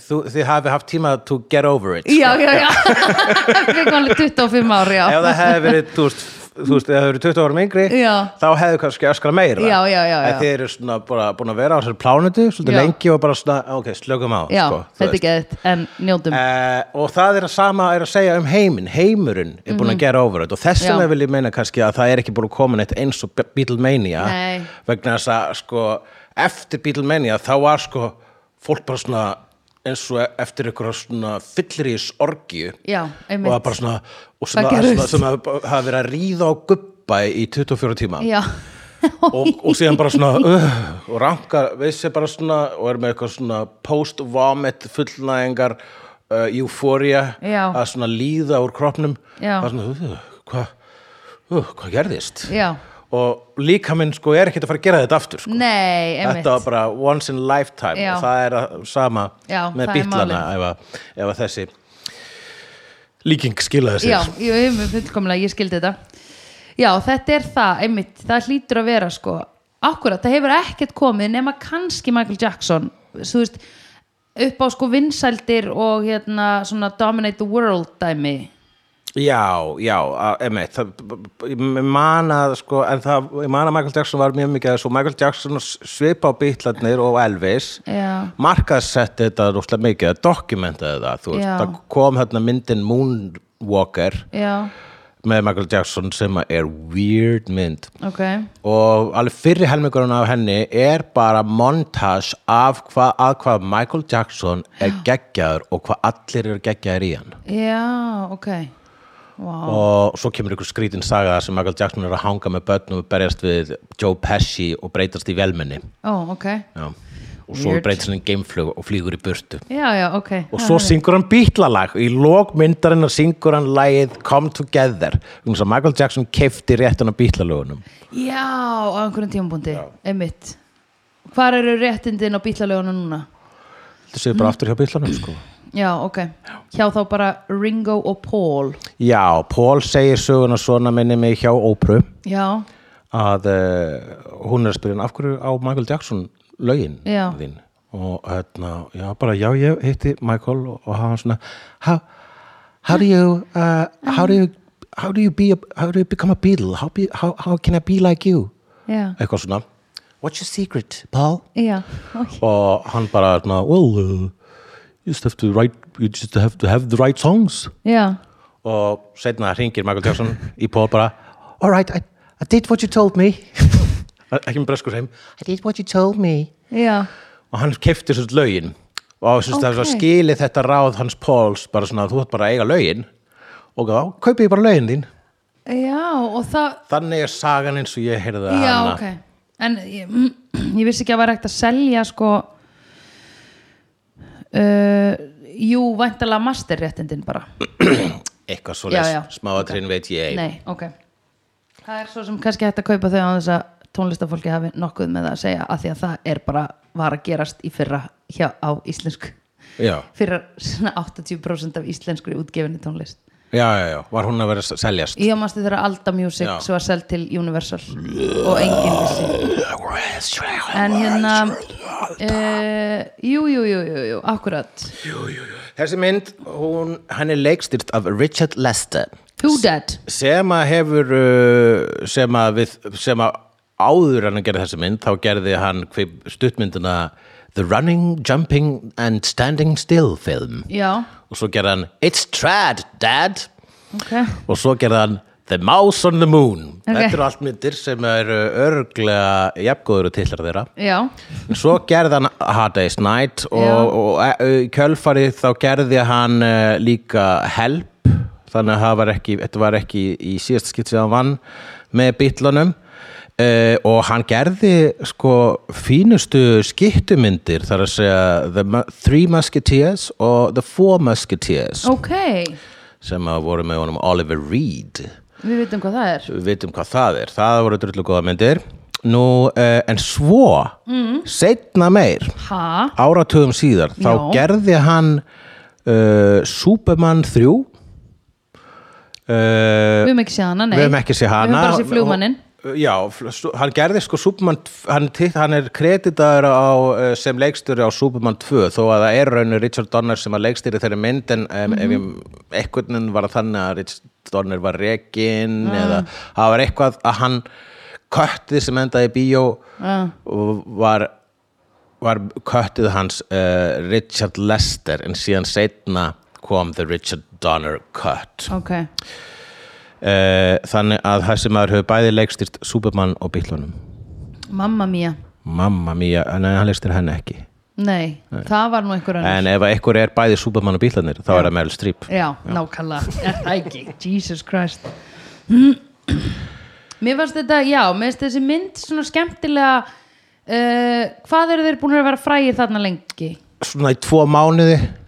A: þú, þið hafi haft tíma to get over it
B: já, já, já Við komum alveg 25 ári já.
A: sko. ef það hefði verið, þú veist, þú veist, ef það hefði verið 20 árum yngri,
B: Já.
A: þá hefði kannski öskra meira.
B: Já, já, já, já.
A: En þið eru svona bara búin að vera á þessari plánutu, svolítið
B: Já.
A: lengi og bara svona, ok, slökum á,
B: já
A: sko. þú
B: þetta er ekki en njótum
A: Eh, og það er að sama er að segja um heiminn heimurinn er búin að gera over þetta og þess
B: Mhm. Já.
A: vegna vil ég meina kannski að það er ekki búin að koma neitt eins og Be- Beatlemania
B: Nei.
A: vegna þess að sko eftir Beatlemania þá var sko fólk bara svona eins og eftir einhverja svona fyllirís orgju
B: Já,
A: og
B: einmitt.
A: það bara svona og svona,
B: Hvað gerðist?
A: svona sem hafa hafa verið að ríða á gubba í 24 tíma
B: Já
A: og, og síðan bara svona uh, og rankar við sér bara svona og er með eitthvað svona post-vomit fullnæðingar uh, euphoria
B: Já.
A: að svona líða úr kroppnum
B: Já.
A: það er svona, uh, hvað uh, hvað gerðist
B: Já,
A: og líka minn sko er ekkert að fara að gera þetta aftur sko.
B: nei, einmitt
A: þetta var bara once in a lifetime
B: Já.
A: og það er að- sama
B: Já,
A: með
B: það er
A: bítlana ef, að, ef að þessi líking skilaði sér
B: Já, ég hef mér fullkomlega, ég skildi þetta Já, þetta er það, einmitt, það hlýtur að vera sko akkurat, það hefur ekkert komið nema kannski Michael Jackson þú veist, upp á sko vinsældir og hérna svona dominate the world dæmi
A: Já, já, að- einmitt það, b- b- ég man að sko, en það, ég man að Michael Jackson var mjög mikið að þessu Michael Jackson svipa á bítlarnir og Elvis
B: Já.
A: markaðsetti þetta rústlega mikið það dokumentaði það, þú veist
B: Já.
A: það kom hérna myndin Moonwalker
B: já,
A: með Michael Jackson sem að er weird mynd
B: ok
A: og alveg fyrri helmingurinn af henni er bara montage af hvað, að hvað Michael Jackson er geggjaður og hvað allir eru geggjaður í hann
B: já, ok
A: Ah.
B: wow.
A: og svo kemur ykkur skrítin saga þar sem Michael Jackson er að hanga með börn og berjast við Joe Pesci og breytast í velmenni
B: ó, ok
A: Já. og svo
B: Weird.
A: breytist hann í geimflug og flýgur í burtu
B: já, já, ok
A: og svo syngur hann bítlalag í lókmyndarinnar syngur hann lagið Come Together Vegna þess að Michael Jackson keifti réttun á bítlalögunum
B: já, á einhverjum tímabundi einmitt hvar eru réttindin á bílalögunum núna?
A: þetta séu bara aftur hjá bítlanum sko
B: já, ok hjá þá bara Ringo og Paul
A: já, Paul segir söguna svona minni mig hjá Ópru
B: já,
A: að uh, hún er að spyrja hann af hverju á Michael Jackson lögin
B: Já.
A: þín og hérna, já bara já ég hitti Michael og, og hann svona how, how do you uh, how do you how do you, be a, how do you become a Beatle how, be, how, how can I be like you
B: já,
A: eitthvað svona what's your secret Paul
B: já ok.
A: og hann bara hérna, well uh, you just have to write you just have to have the right songs
B: já,
A: og setna hringir Michael Jackson í Paul bara all right, I, I did what you told me ekki með breskur heim I did what you told me
B: já
A: og hann kefti þessu lögin og okay. það var
B: Ok.
A: skilið þetta ráð hans Pauls bara svona þú ætti bara að eiga lögin og þá kaupið ég bara lögin þín
B: já, og það
A: þannig er sagan eins og ég heyrði
B: Já,
A: hana
B: ok En ég, ég vissi ekki að vera ekkert að selja sko uh, Jú, væntalega masterréttindin bara
A: eitthvað svo
B: Já, já.
A: leys, smáatrinn veit ég
B: Nei, ok Það er svo sem kannski hægt að kaupa þau á þess að tónlistafólki hafi nokkuð með það að segja af því að það er bara var að gerast í fyrra hjá, á íslensku
A: já.
B: fyrra svona 80% af íslenskri útgefinni tónlist
A: já, já, já, var hún að vera að seljast
B: Ég mástu þeirra Alda Music
A: Já.
B: svo að seld til Universal og enginn vissi En hérna uh, Jú, jú, jú, jú, jú, akkurat
A: þessi mynd, hún, hann er leikstyrst af Richard Lester
B: Who dead?
A: sem að hefur uh, sem að, við, sem að áður en að gera þessi mynd þá gerði hann kvip- stuttmyndina The Running, Jumping and Standing Still film
B: Já,
A: og svo gerði hann It's Trad, Dad
B: ok
A: og svo gerði hann The Mouse on the Moon
B: Ok.
A: þetta eru allt myndir sem eru örglega jafngóður og tillar þeirra
B: Já,
A: svo gerði hann Hard Day's Night og,
B: Já.
A: og, og í kjölfarið þá gerði hann uh, líka Help þannig að það var ekki, þetta var ekki í síðast skipt sem hann vann með bitlunum Uh, og hann gerði sko fínustu skittumyndir þar að segja The Mu- Three Musketeers og The Four Musketeers
B: ok
A: sem að voru með honum Oliver Reed
B: Við vitum hvað það er
A: við veitum hvað það er, það voru drullu góða myndir nú, uh, en svo mm. setna meir
B: Ha?
A: áratugum síðar þá
B: Já.
A: gerði hann uh, Superman Uh, 3 uh,
B: Við
A: við
B: höfum ekki séð hana, nei
A: höfum ekki sé hana
B: Við höfum bara séð flugmannin
A: Og- já, fl- sú- hann gerði sko Superman tv- hann, tit- hann er kreditaður á, uh, sem leikstjóri á Superman 2 þó að það er raunir Richard Donner sem að leikstýri þeirri mynd en um, ef
B: Mhm.
A: ég, einhvern veginn var það þannig að Richard Donner var
B: Ah.
A: rekinn eða það var eitthvað að hann köttið sem endaði í bíó
B: Ah.
A: og var var köttið hans uh, Richard Lester en síðan setna kom the Richard Donner cut
B: Ok,
A: Eh, þannig að þessi maður hefur bæði leikstýrt Superman og Bílunum
B: mamma mía
A: Mamma mía, en hann leikstýr henni ekki
B: nei, það var nú einhver önnur
A: en ef eitthvað er bæði Superman og Bílunir þá er það Meryl Streep
B: Já, nákvæmlega, er það ekki Jesus Christ Mér fannst þetta, já, mér finnst þessi mynd svona skemmtilega uh, Hvað eru þeir búin að vera frægir þarna lengi?
A: svona í tvo mánuði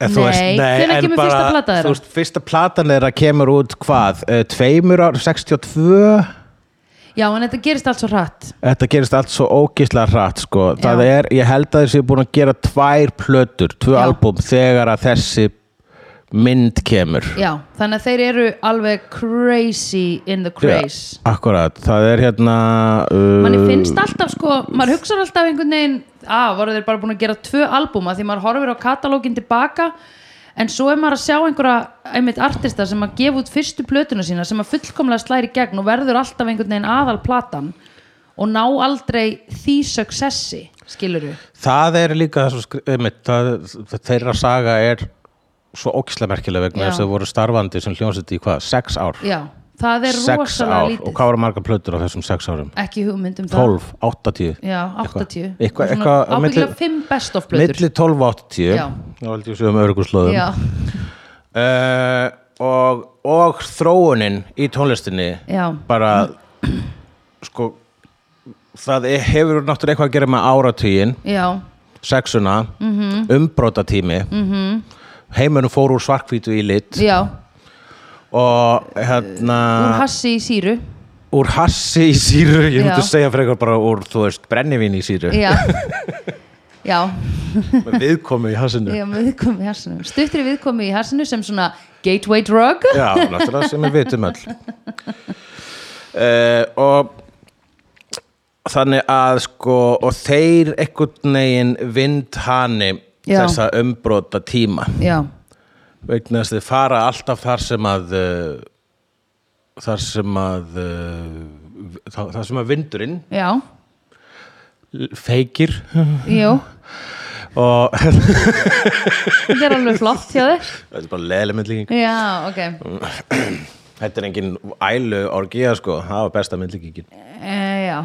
A: En þú
B: Nei,
A: veist,
B: hvenær
A: en
B: kemur
A: bara-
B: fyrsta plata þeirra?
A: þú veist, fyrsta platan þeirra kemur út hvað, eh, tveimur ár 62
B: Já, en þetta gerist allt svo hratt
A: Þetta gerist allt svo ógislega hratt sko. það
B: Já.
A: er, ég held að þeir séu búin að gera tvær plötur, tvö
B: Já.
A: albúm þegar að þessi mynd kemur
B: já, þannig að þeir eru alveg crazy in the craze
A: Akkurat, það er hérna
B: manni
A: uh,
B: finnst alltaf sko, maður hugsar alltaf einhvern veginn, að voru þeir bara búin að gera tvö albúma því maður horfir á katalógin tilbaka en svo er maður að sjá einhverja einmitt artista sem að gefa út fyrstu plötuna sína sem að fullkomlega slæri gegn og verður alltaf einhvern veginn aðalplatan og ná aldrei því successi, skilur við
A: Það er líka það, svo, einmitt, það, þeirra saga er svo ókislega merkilega
B: Já.
A: vegna þess að þau voru starfandi sem hljónsett í hvað, sex ár
B: já, það er
A: sex
B: rosalega
A: ár, og
B: lítið
A: hvað voru margar plötur á þessum sex árum?
B: ekki hugmynd um það
A: 12, 80
B: já, 80
A: Eitthvað-
B: Svona
A: eitthvað á milli-
B: ábyggilega 5 best of plötur
A: milli 12 og 80
B: Já.
A: þá held ég séum örguslóðum
B: já,
A: uh, og, og þróunin í tónlistinni
B: Já.
A: bara sko það er- hefur náttúrulega eitthvað að gera með áratugin
B: já,
A: sexuna, mm -hmm. umbrotatími mm heimurinn fór úr svarkvítu í lit
B: já
A: og hérna
B: úr hassi í síru
A: úr hassi í síru ég
B: Já.
A: myndi segja frekar bara úr, þú veist, brennivín í síru
B: já já,
A: með viðkomi í hassinu
B: já með viðkomi í hassinu stuttri viðkomi í hassinu sem svona gateway drug
A: Já, náttúrulega sem við vitum öll uh, og þannig að sko og þeir einhvern veginn vind hani
B: Já.
A: þessa umbrota tíma
B: já,
A: vegna þess að þið fara alltaf þar sem að uh, þar sem að uh, þá- þar sem að vindurinn
B: já,
A: feikir
B: jú
A: og þetta
B: þetta er alveg flott hjá þér
A: er bara leðileg
B: já, ok
A: þetta er engin ælu orgía sko, það var besta myndlíkingin
B: e, já,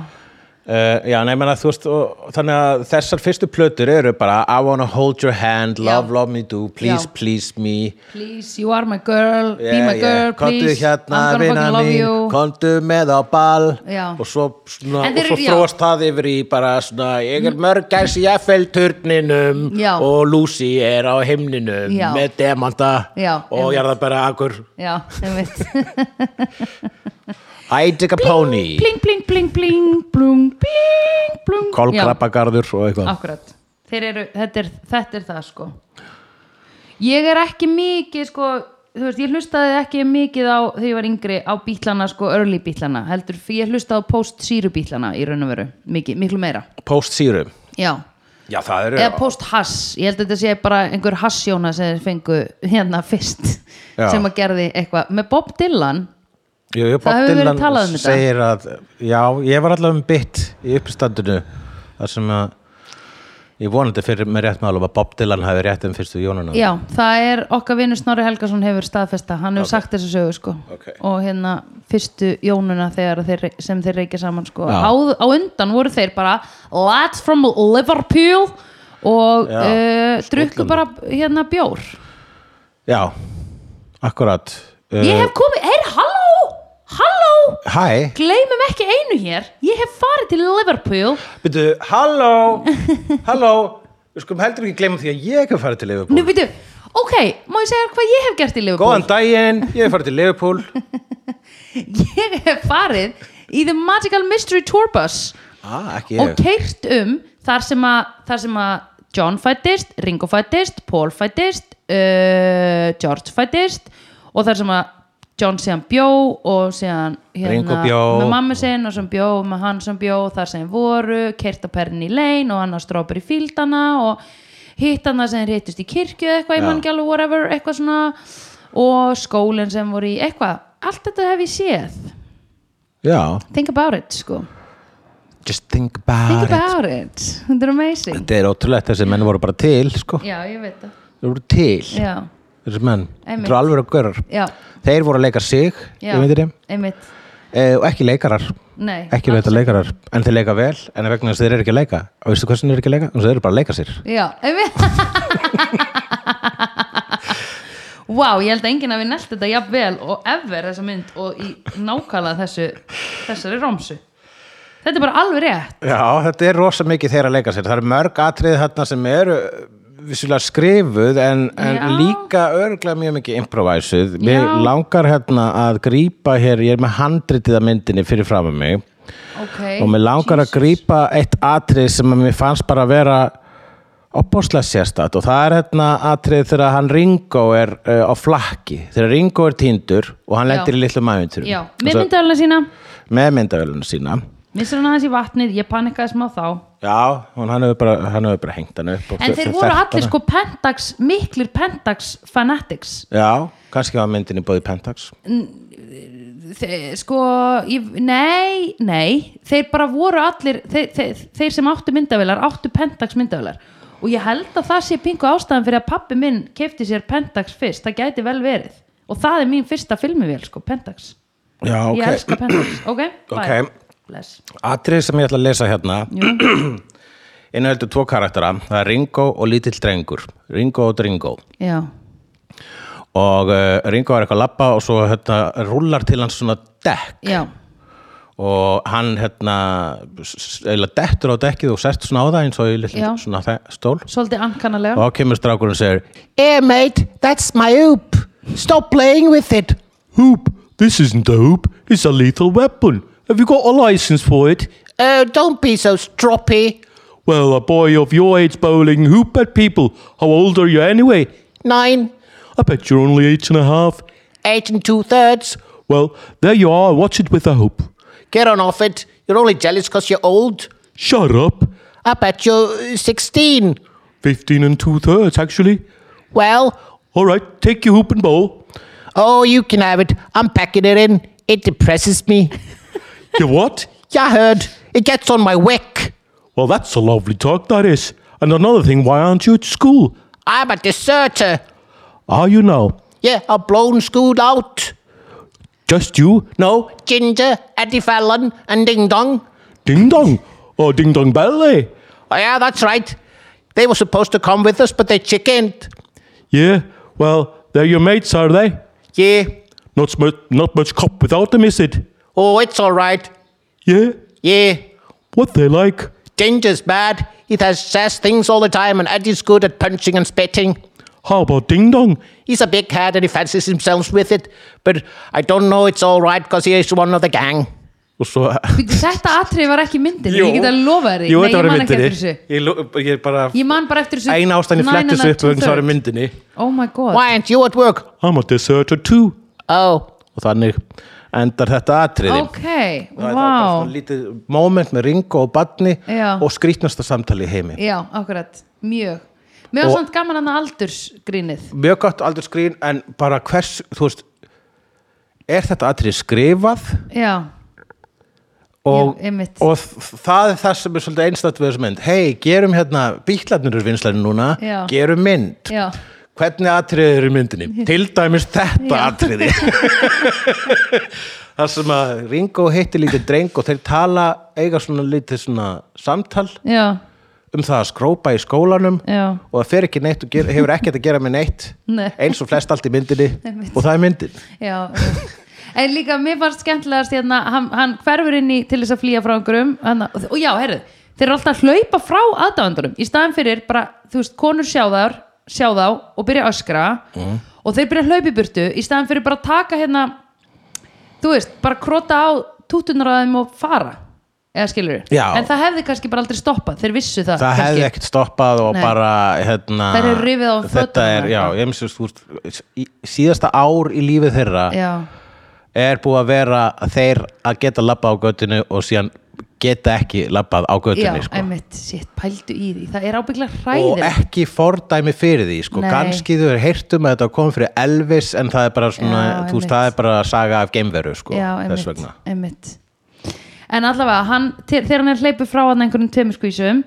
A: Uh, já, nei, menna, þú veist, og, þannig að þessar fyrstu plötur eru bara I wanna hold your hand,
B: Já.
A: love, love me do, please,
B: Já.
A: please me
B: please, you are my girl be
A: Yeah,
B: my
A: yeah.
B: girl,
A: Komdu
B: please
A: hérna,
B: I'm gonna
A: vina
B: fucking love
A: mín,
B: you
A: komdu með á ball
B: Já.
A: og svo, svona, og
B: En þeir
A: svo
B: eru- já.
A: þróast það yfir í bara svona, ég er mörgæs í FL-turninum
B: Já.
A: og Lucy er á himninum
B: Já.
A: með demanta
B: Já,
A: og ég er það bara akkur
B: já, einmitt
A: I dig a pony,
B: bling, bling, bling, bling, bling, bling, bling
A: kolkrabbagarður og eitthvað
B: Akkurat, þeir eru, þetta er, þetta er það sko Ég er ekki mikið sko, þú veist, ég hlustaði ekki mikið á, þegar ég var yngri, á bítlana sko, early bítlana, heldur, ég hlustaði á post-síru bítlana í raun og veru, mikið, miklu meira
A: Post Serum
B: Já,
A: Já, það eru
B: eða post-hass, ég held að þetta sé bara einhver hassjóna sem þeir fengu hérna fyrst,
A: Já.
B: sem að gerði eitthvað, með Bob Dylan
A: Jú, jú, Bob
B: hefur verið
A: Dylan
B: talað um þetta.
A: segir að já, ég var allavega um bytt í uppstandinu þar sem að ég vonandi fyrir með rétt málum að Bob Dylan hafi rétt um fyrstu jónuna
B: Já, það er okkar vinur Snorri Helgason hefur staðfesta, hann hefur sagt þessu sögu sko.
A: Ok.
B: og hérna fyrstu jónuna þegar þeir, sem þeir reykja saman sko.
A: Já.
B: á, á undan voru þeir bara lads from Liverpool og
A: Já,
B: uh, drukku
A: Skotlandi.
B: bara hérna bjór
A: já akkurat uh,
B: Ég hef komið, er halló halló,
A: Hæ,
B: gleymum ekki einu hér ég hef farið til Liverpool
A: byrju, halló halló, við skulum heldur ekki gleyma því að ég hef farið til
B: Nú
A: Liverpool
B: veitu, ok, má ég segja þér hvað ég hef gert í Liverpool
A: Góðan daginn, ég hef farið til Liverpool
B: Ég hef farið í The Magical Mystery Tour Bus
A: ah, ekki ég
B: og keirt um þar sem að, þar sem að John fættist, Ringo fættist, Paul fættist, uh, George fættist og þar sem að John síðan bjó og síðan hérna,
A: Ringo bjó.
B: með mamma sinn og sem bjó með hann sem bjó og þar sem voru keirt á perrin í lein og hann á strópar í fíldana og hitt hann það sem þeir hittust í kirkju eitthvað, ég
A: Já.
B: mann ekki alveg whatever, eitthvað svona og skólinn sem voru í eitthvað allt þetta hef ég séð
A: Já,
B: think about it sko
A: just think about,
B: think about it, þetta er amazing
A: Þetta er ótrúlegt, þessi menn voru bara til sko,
B: Já, ég veit það
A: þeir voru til
B: Já,
A: þessi menn,
B: Einmitt.
A: þetta er alveg að görar
B: já,
A: Þeir voru að leika sig,
B: já
A: ég myndir þeim,
B: Einmitt,
A: eh, og ekki leikarar,
B: nei
A: ekki
B: alls
A: leita leikarar, en þeir leika vel, en vegna þess að þeir eru ekki að leika, og veistu hversu þeir eru ekki að leika? Þannig að þeir eru bara að leika sér.
B: Já, einmitt Vá, ég held að enginn að við nelt þetta jafnvel og ever þessa mynd og í nákvæmlega þessu þessari romsu Þetta er bara alveg rétt
A: Já, þetta er rosa mikið þeir að leika sér, það eru mörg atrið þarna sem eru vissulega skrifuð, en, en
B: Já.
A: líka örglega mjög mikið improvæsuð. Mér
B: Já.
A: langar hérna að grípa hér, ég er með handritið að myndinni fyrir fram að mig,
B: okay.
A: og mér langar að grípa eitt atrið sem að mér fannst bara að vera opbóðslega sérstætt og það er hérna atrið þegar hann Ringo er uh, á flakki, þegar Ringo er tíndur og hann
B: Já.
A: lendir í litlum aðventurum
B: já, með myndavæluna sína
A: með myndavélunum sína
B: missur hann aðeins í vatnið, ég panikaði smá þá
A: já, hún, hann hefur bara, hann hefur bara hengt hann upp og
B: en
A: fer-
B: þeir
A: fer-
B: voru
A: felt
B: allir
A: hana.
B: sko Pentax, miklir Pentax fanatics
A: já, kannski var myndin í bóði Pentax
B: Þe- sko, ég, nei, nei þeir bara voru allir þeir, þeir, þeir sem áttu myndavélar, áttu Pentax myndavélar og ég held að það sé pingu ástæðan fyrir að pappi minn kefti sér Pentax fyrst, það gæti vel verið og það er mín fyrsta filmivél, sko, Pentax
A: já, ok,
B: ég elska Pentax, ok, bye
A: Ok.
B: bless,
A: atrið sem ég ætla að lesa hérna innhöldu tvo karaktera það er Ringo og lítill drengur Ringo og Dringo
B: já
A: og uh, Ringo er eitthvað að labba og svo hérna, rúlar til hans svona dekk
B: já,
A: og hann hérna s- s- eiginlega dettur á dekkið og sest svona á það eins og í
B: Já.
A: litlum svona þe- stól
B: svolítið ankanalega
A: og þá kemur strákurinn og segir
C: Hey, mate, that's my hoop. Stop playing with it.
D: Hoop, this isn't a hoop, it's a lethal weapon. Have you got a license for it?
C: Oh, don't be so stroppy.
D: Well, a boy of your age bowling hoop at people. How old are you anyway?
C: Nine,
D: I bet you're only eight and a half.
C: eight and two thirds.
D: Well, there you are, watch it with a hoop.
C: Get on off it. You're only jealous 'cause you're old.
D: Shut up.
C: I bet you're uh, 16.
D: Fifteen and two thirds, actually.
C: Well,
D: All right, take your hoop and bowl.
C: oh, you can have it. I'm packing it in. It depresses me.
D: You what?
C: Yeah, I heard. It gets on my wick.
D: Well, that's a lovely talk, that is. And another thing, why aren't you at school?
C: I'm a deserter.
D: Are you now?
C: Yeah, I've blown school out.
D: Just you?
C: No, Ginger, Eddie Fallon, and Ding Dong.
D: Ding dong. Or ding dong ballet.
C: Oh, yeah, that's right. They were supposed to come with us, but they chickened.
D: Yeah, well, they're your mates, are they?
C: Yeah.
D: Not, sm- not much cop without them, is it?
C: Oh, it's all right.
D: Yeah,
C: Yeah.
D: what they like.
C: Ginger's bad. He has says things all the time, and Eddie's good at punching and spitting.
D: How about ding dong?
C: He's a big cat and he fancies himself with it, but I don't know it's all right because he is one of the gang.
A: og svo
B: Bíddu, þetta atrið var ekki myndin ég get að lofa þér
A: Jú,
B: Nei,
A: þetta
B: ég
A: var í
B: man ekki
A: myndinni.
B: eftir þessu.
A: Ég lo- ég bara
B: Ég man bara eftir þessu
A: eina ástæðan ég
B: Nine and
A: flettist
B: a
A: upp vegna þess að það var í
B: two-thirds.
A: myndinni
B: oh my god
C: Why aren't you at work?
D: I'm a deserter too.
C: Oh,
A: og þannig endar þetta atriði
B: ok,
A: Það er þá bara
B: wow
A: svona lítið moment með Ringo og Badni
B: Já.
A: og skrýtnasta samtali í heimi
B: Já, akkurat, mjög Mér var
A: Og-
B: samt gaman hann að aldursgrínið
A: mjög gott aldur skrýn en bara hvers, þú veist er þetta atrið skrifað
B: Já,
A: og,
B: Já, einmitt.
A: og þ- það er það sem er svolítið einstætt við þessu mynd hei, gerum hérna, bíklarnir eru vinslæri núna
B: Já.
A: gerum mynd
B: já,
A: hvernig atriðið eru í myndinni til dæmis þetta
B: Já.
A: atriði það sem að Ringo heitti lítið dreng og þeir tala eiga svona lítið svona samtal
B: já,
A: um það að skrópa í skólanum
B: já
A: og það fer ekki neitt og ger, hefur ekkert að gera með neitt
B: Nei.
A: eins og flest allt í myndinni
B: Einmitt.
A: og það er myndin
B: Já, en líka mér fannst skemmtilegast hérna, hann, hann hverfur inn í til þess að flýja frá einhverjum hann, og já, herru, þeir eru alltaf að hlaupa frá aðdáðandurum, í staðan fyrir bara, þú veist, konur sjá þar sjá þá og byrja að öskra og þeir byrja að hlaupa í burtu, í staðan fyrir bara að taka hérna, þú veist bara krota á tútunar að þeim og fara, eða skilur
A: Já.
B: en það hefði kannski bara aldrei stoppað, þeir vissu
A: það
B: það kannski.
A: hefði ekkert stoppað og
B: Nei.
A: bara hérna,
B: Þær eru rifið á
A: þetta
B: fötunum
A: er,
B: eða
A: já,
B: eitthvað.
A: ég misst, þú veist, í- síðasta ár í lífið þeirra
B: já,
A: er búið að vera þeir að geta labbað á göttinu og síðan geta ekki labbað á
B: já,
A: göttinu sko.
B: einmitt, sétt, pældu í því það er ábygglega
A: og
B: hræðilegt
A: ekki fordæmi fyrir því sko.
B: Nei.
A: kannski þau er heyrtum að þetta kom fyrir Elvis en það er bara svona,
B: Já,
A: þú veist,
B: einmitt.
A: það er bara saga af geimveru sko,
B: Já,
A: þess
B: einmitt,
A: vegna
B: einmitt. en allavega hann, te- þegar hann er hleypur frá hann einhverjum tveimur skvísum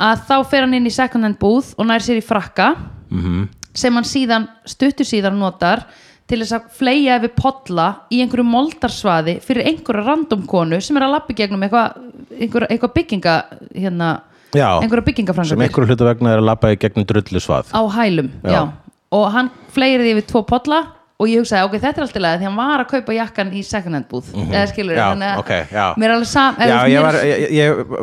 B: að þá fer hann inn í second hand búð og nær sér í frakka
A: Mhm.
B: -hmm. sem hann síðan, stuttur síðan notar til þess að fleja yfir podla í einhverju moldarsvaði fyrir einhverja random konu sem er að lappi gegnum eitthvað einhver, eitthva bygginga hérna,
A: Já.
B: einhverja byggingafrangar
A: sem einhverju hlutu vegna er að labba í gegnum drullu svað
B: á hælum já. og hann fleiri því við tvo podla og ég hugsaði ok, þetta er alltaf leið því hann var að kaupa jakkan í second hand búð eða skilur,
A: Mhm. Já,
B: þannig að
A: ok, já.
B: mér er alveg sam eða
A: Já,
B: þú veist,
A: ég,
B: mér
A: var,
B: er-
A: ég,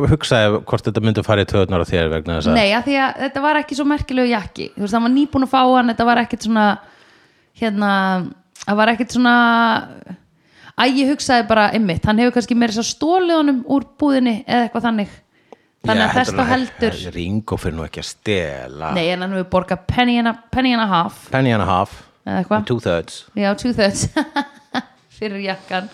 A: ég hugsaði hvort þetta myndi fara í töðunar á þér vegna þess að
B: nei, að því að þetta var ekki svo merkilegu jakki þú veist, hann var nýbúin að fá hann, þetta var ekkit svona hérna, það var ekkit svona að ég hugsaði bara einmitt, hann hefur kannski meira þess að stólið honum úr búðinni eða eitthvað þannig þannig að
A: Ég
B: þess þá heldur
A: Ringo fyrir nú ekki að stela
B: nei, en hann hefur borgað penny and a, penny and a half
A: Penny and a half
B: eða eitthvað
A: Two thirds
B: Já, two thirds fyrir jakkan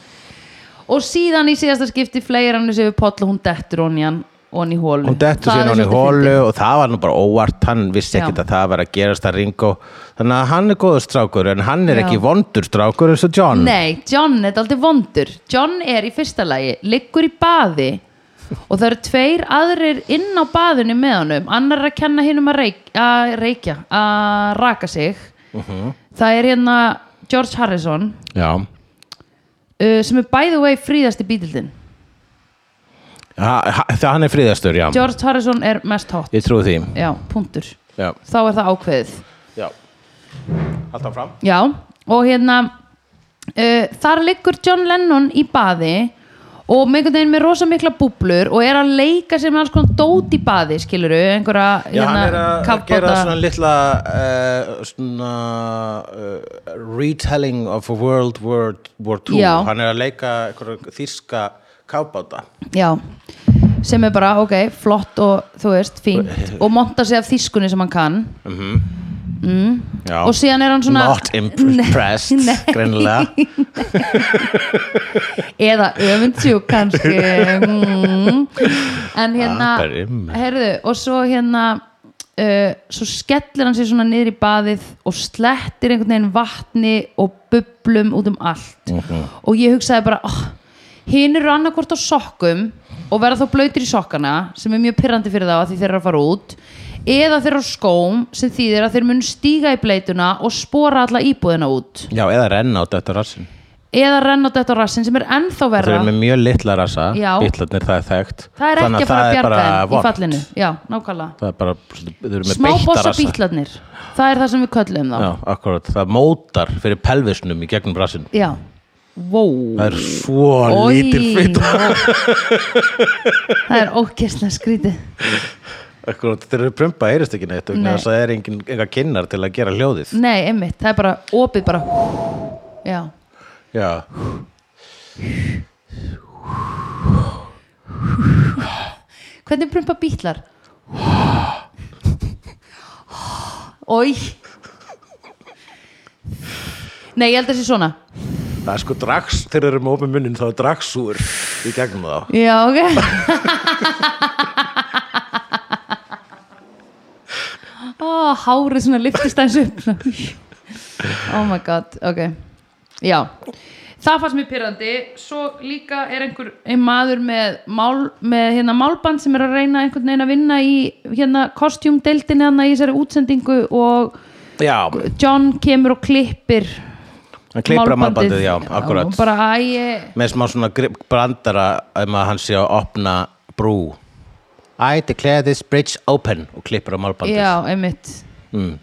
B: og síðan í síðasta skipti fleir hann þessi við poll og hún dettur honni hann honni í hólu
A: Hún dettur
B: Það er
A: síðan hann í
B: svolítið
A: hólu
B: fyndið.
A: og það var nú bara óvart, hann vissi
B: Já.
A: ekkert að það var að gerast að Ringo Þannig að hann er góður strákur en hann er
B: Já.
A: ekki vondur strákur eins og John
B: Nei, John er aldrei vondur John er í fyrsta lagi, liggur í baði og það eru tveir aðrir inn á baðinu með honum annar er að kenna hinn um að reik, að reikja að raka sig
A: Mhm.
B: það er hérna George Harrison
A: Já,
B: uh, sem er by the way fríðasti bítildin
A: ha, ha, það hann er fríðastur, já
B: George Harrison er mest hot
A: Ég trúi því
B: Já, punktur
A: Já,
B: þá er það ákveðið
A: já Haldan fram
B: já, og hérna uh, þar liggur John Lennon í baði og með einhvern veginn með rosa mikla búblur og er að leika sér með alls konar dót í baði skiluru, einhverja hérna,
A: Já, hann er að gera
B: kafbáta-
A: svona litla uh, svona uh, retelling of a World War, War II
B: Já.
A: Hann er að leika einhverja þýska kafbáta
B: já, sem er bara ok, flott og þú veist, fínt og monta sig af þýskunni sem hann kann
A: Já.
B: og síðan er hann svona
A: Not impressed,
B: Nei.
A: greinilega
B: eða öfundsjúk kannski mm. en hérna
A: Ah, bara um.
B: heyrðu, og svo hérna uh, svo skellir hann sér svona niður í baðið og slettir einhvern veginn vatni og bublum út um allt og ég hugsaði bara oh, hinn eru annarkvort á sokkum og verða þá blöytir í sokkana sem er mjög pyrrandi fyrir þá að því þeir eru að fara út eða þeir eru á skóm sem þýðir að þeir mun stíga í bleituna og spora alla íbúðina út
A: Já, eða renna á þetta rassin
B: eða renna á þetta rassin sem er ennþá
A: Þeir
B: verra
A: eru með mjög litla rassa,
B: Já.
A: bítlarnir það er þekkt
B: Það er
A: Þannig
B: ekki að fara að
A: það er
B: bjarga
A: bara
B: þeim í
A: vont.
B: fallinu Já, nákvæmlega
A: Það er bara, þeir eru með
B: Smá
A: beitta
B: bossa
A: rassa
B: bítlarnir Það er það sem við köllum þá
A: Já, akkurat, það mótar fyrir pelvisnum í gegnum rassin
B: Já, wow
A: Það er svo
B: Oj,
A: lítil fyrir
B: vá. Það er ókesslega skrítið
A: Akkurat, þeir eru prumpa heyrist ekki neitt
B: Nei.
A: vegna þess að Það er engin, enga kinnar til að gera hljóðið
B: Nei, einmitt, það er bara opið bara Já,
A: Já
B: hvernig prumpa bítlar? Ói Nei, ég held að sé svona
A: Það er sko drags, þeir eru með opið munnin þá er dragsúr í gegnum þá
B: Já, ok Ó, hárið svona lyftist aðeins upp svona. Oh my god, ok Já, það fannst mér pyrrandi Svo líka er einhver ein maður með, mál, með hérna málband sem er að reyna einhvern veginn að vinna í hérna kostjúmdeildinni hann í þessari útsendingu og
A: Já,
B: John kemur og klippir
A: hann klippur að málbandið, já, akkurat
B: og bara æ,
A: með smá svona grip- brandara um að hann sé að opna brú I declare this bridge open og klippur á málbandið
B: já, einmitt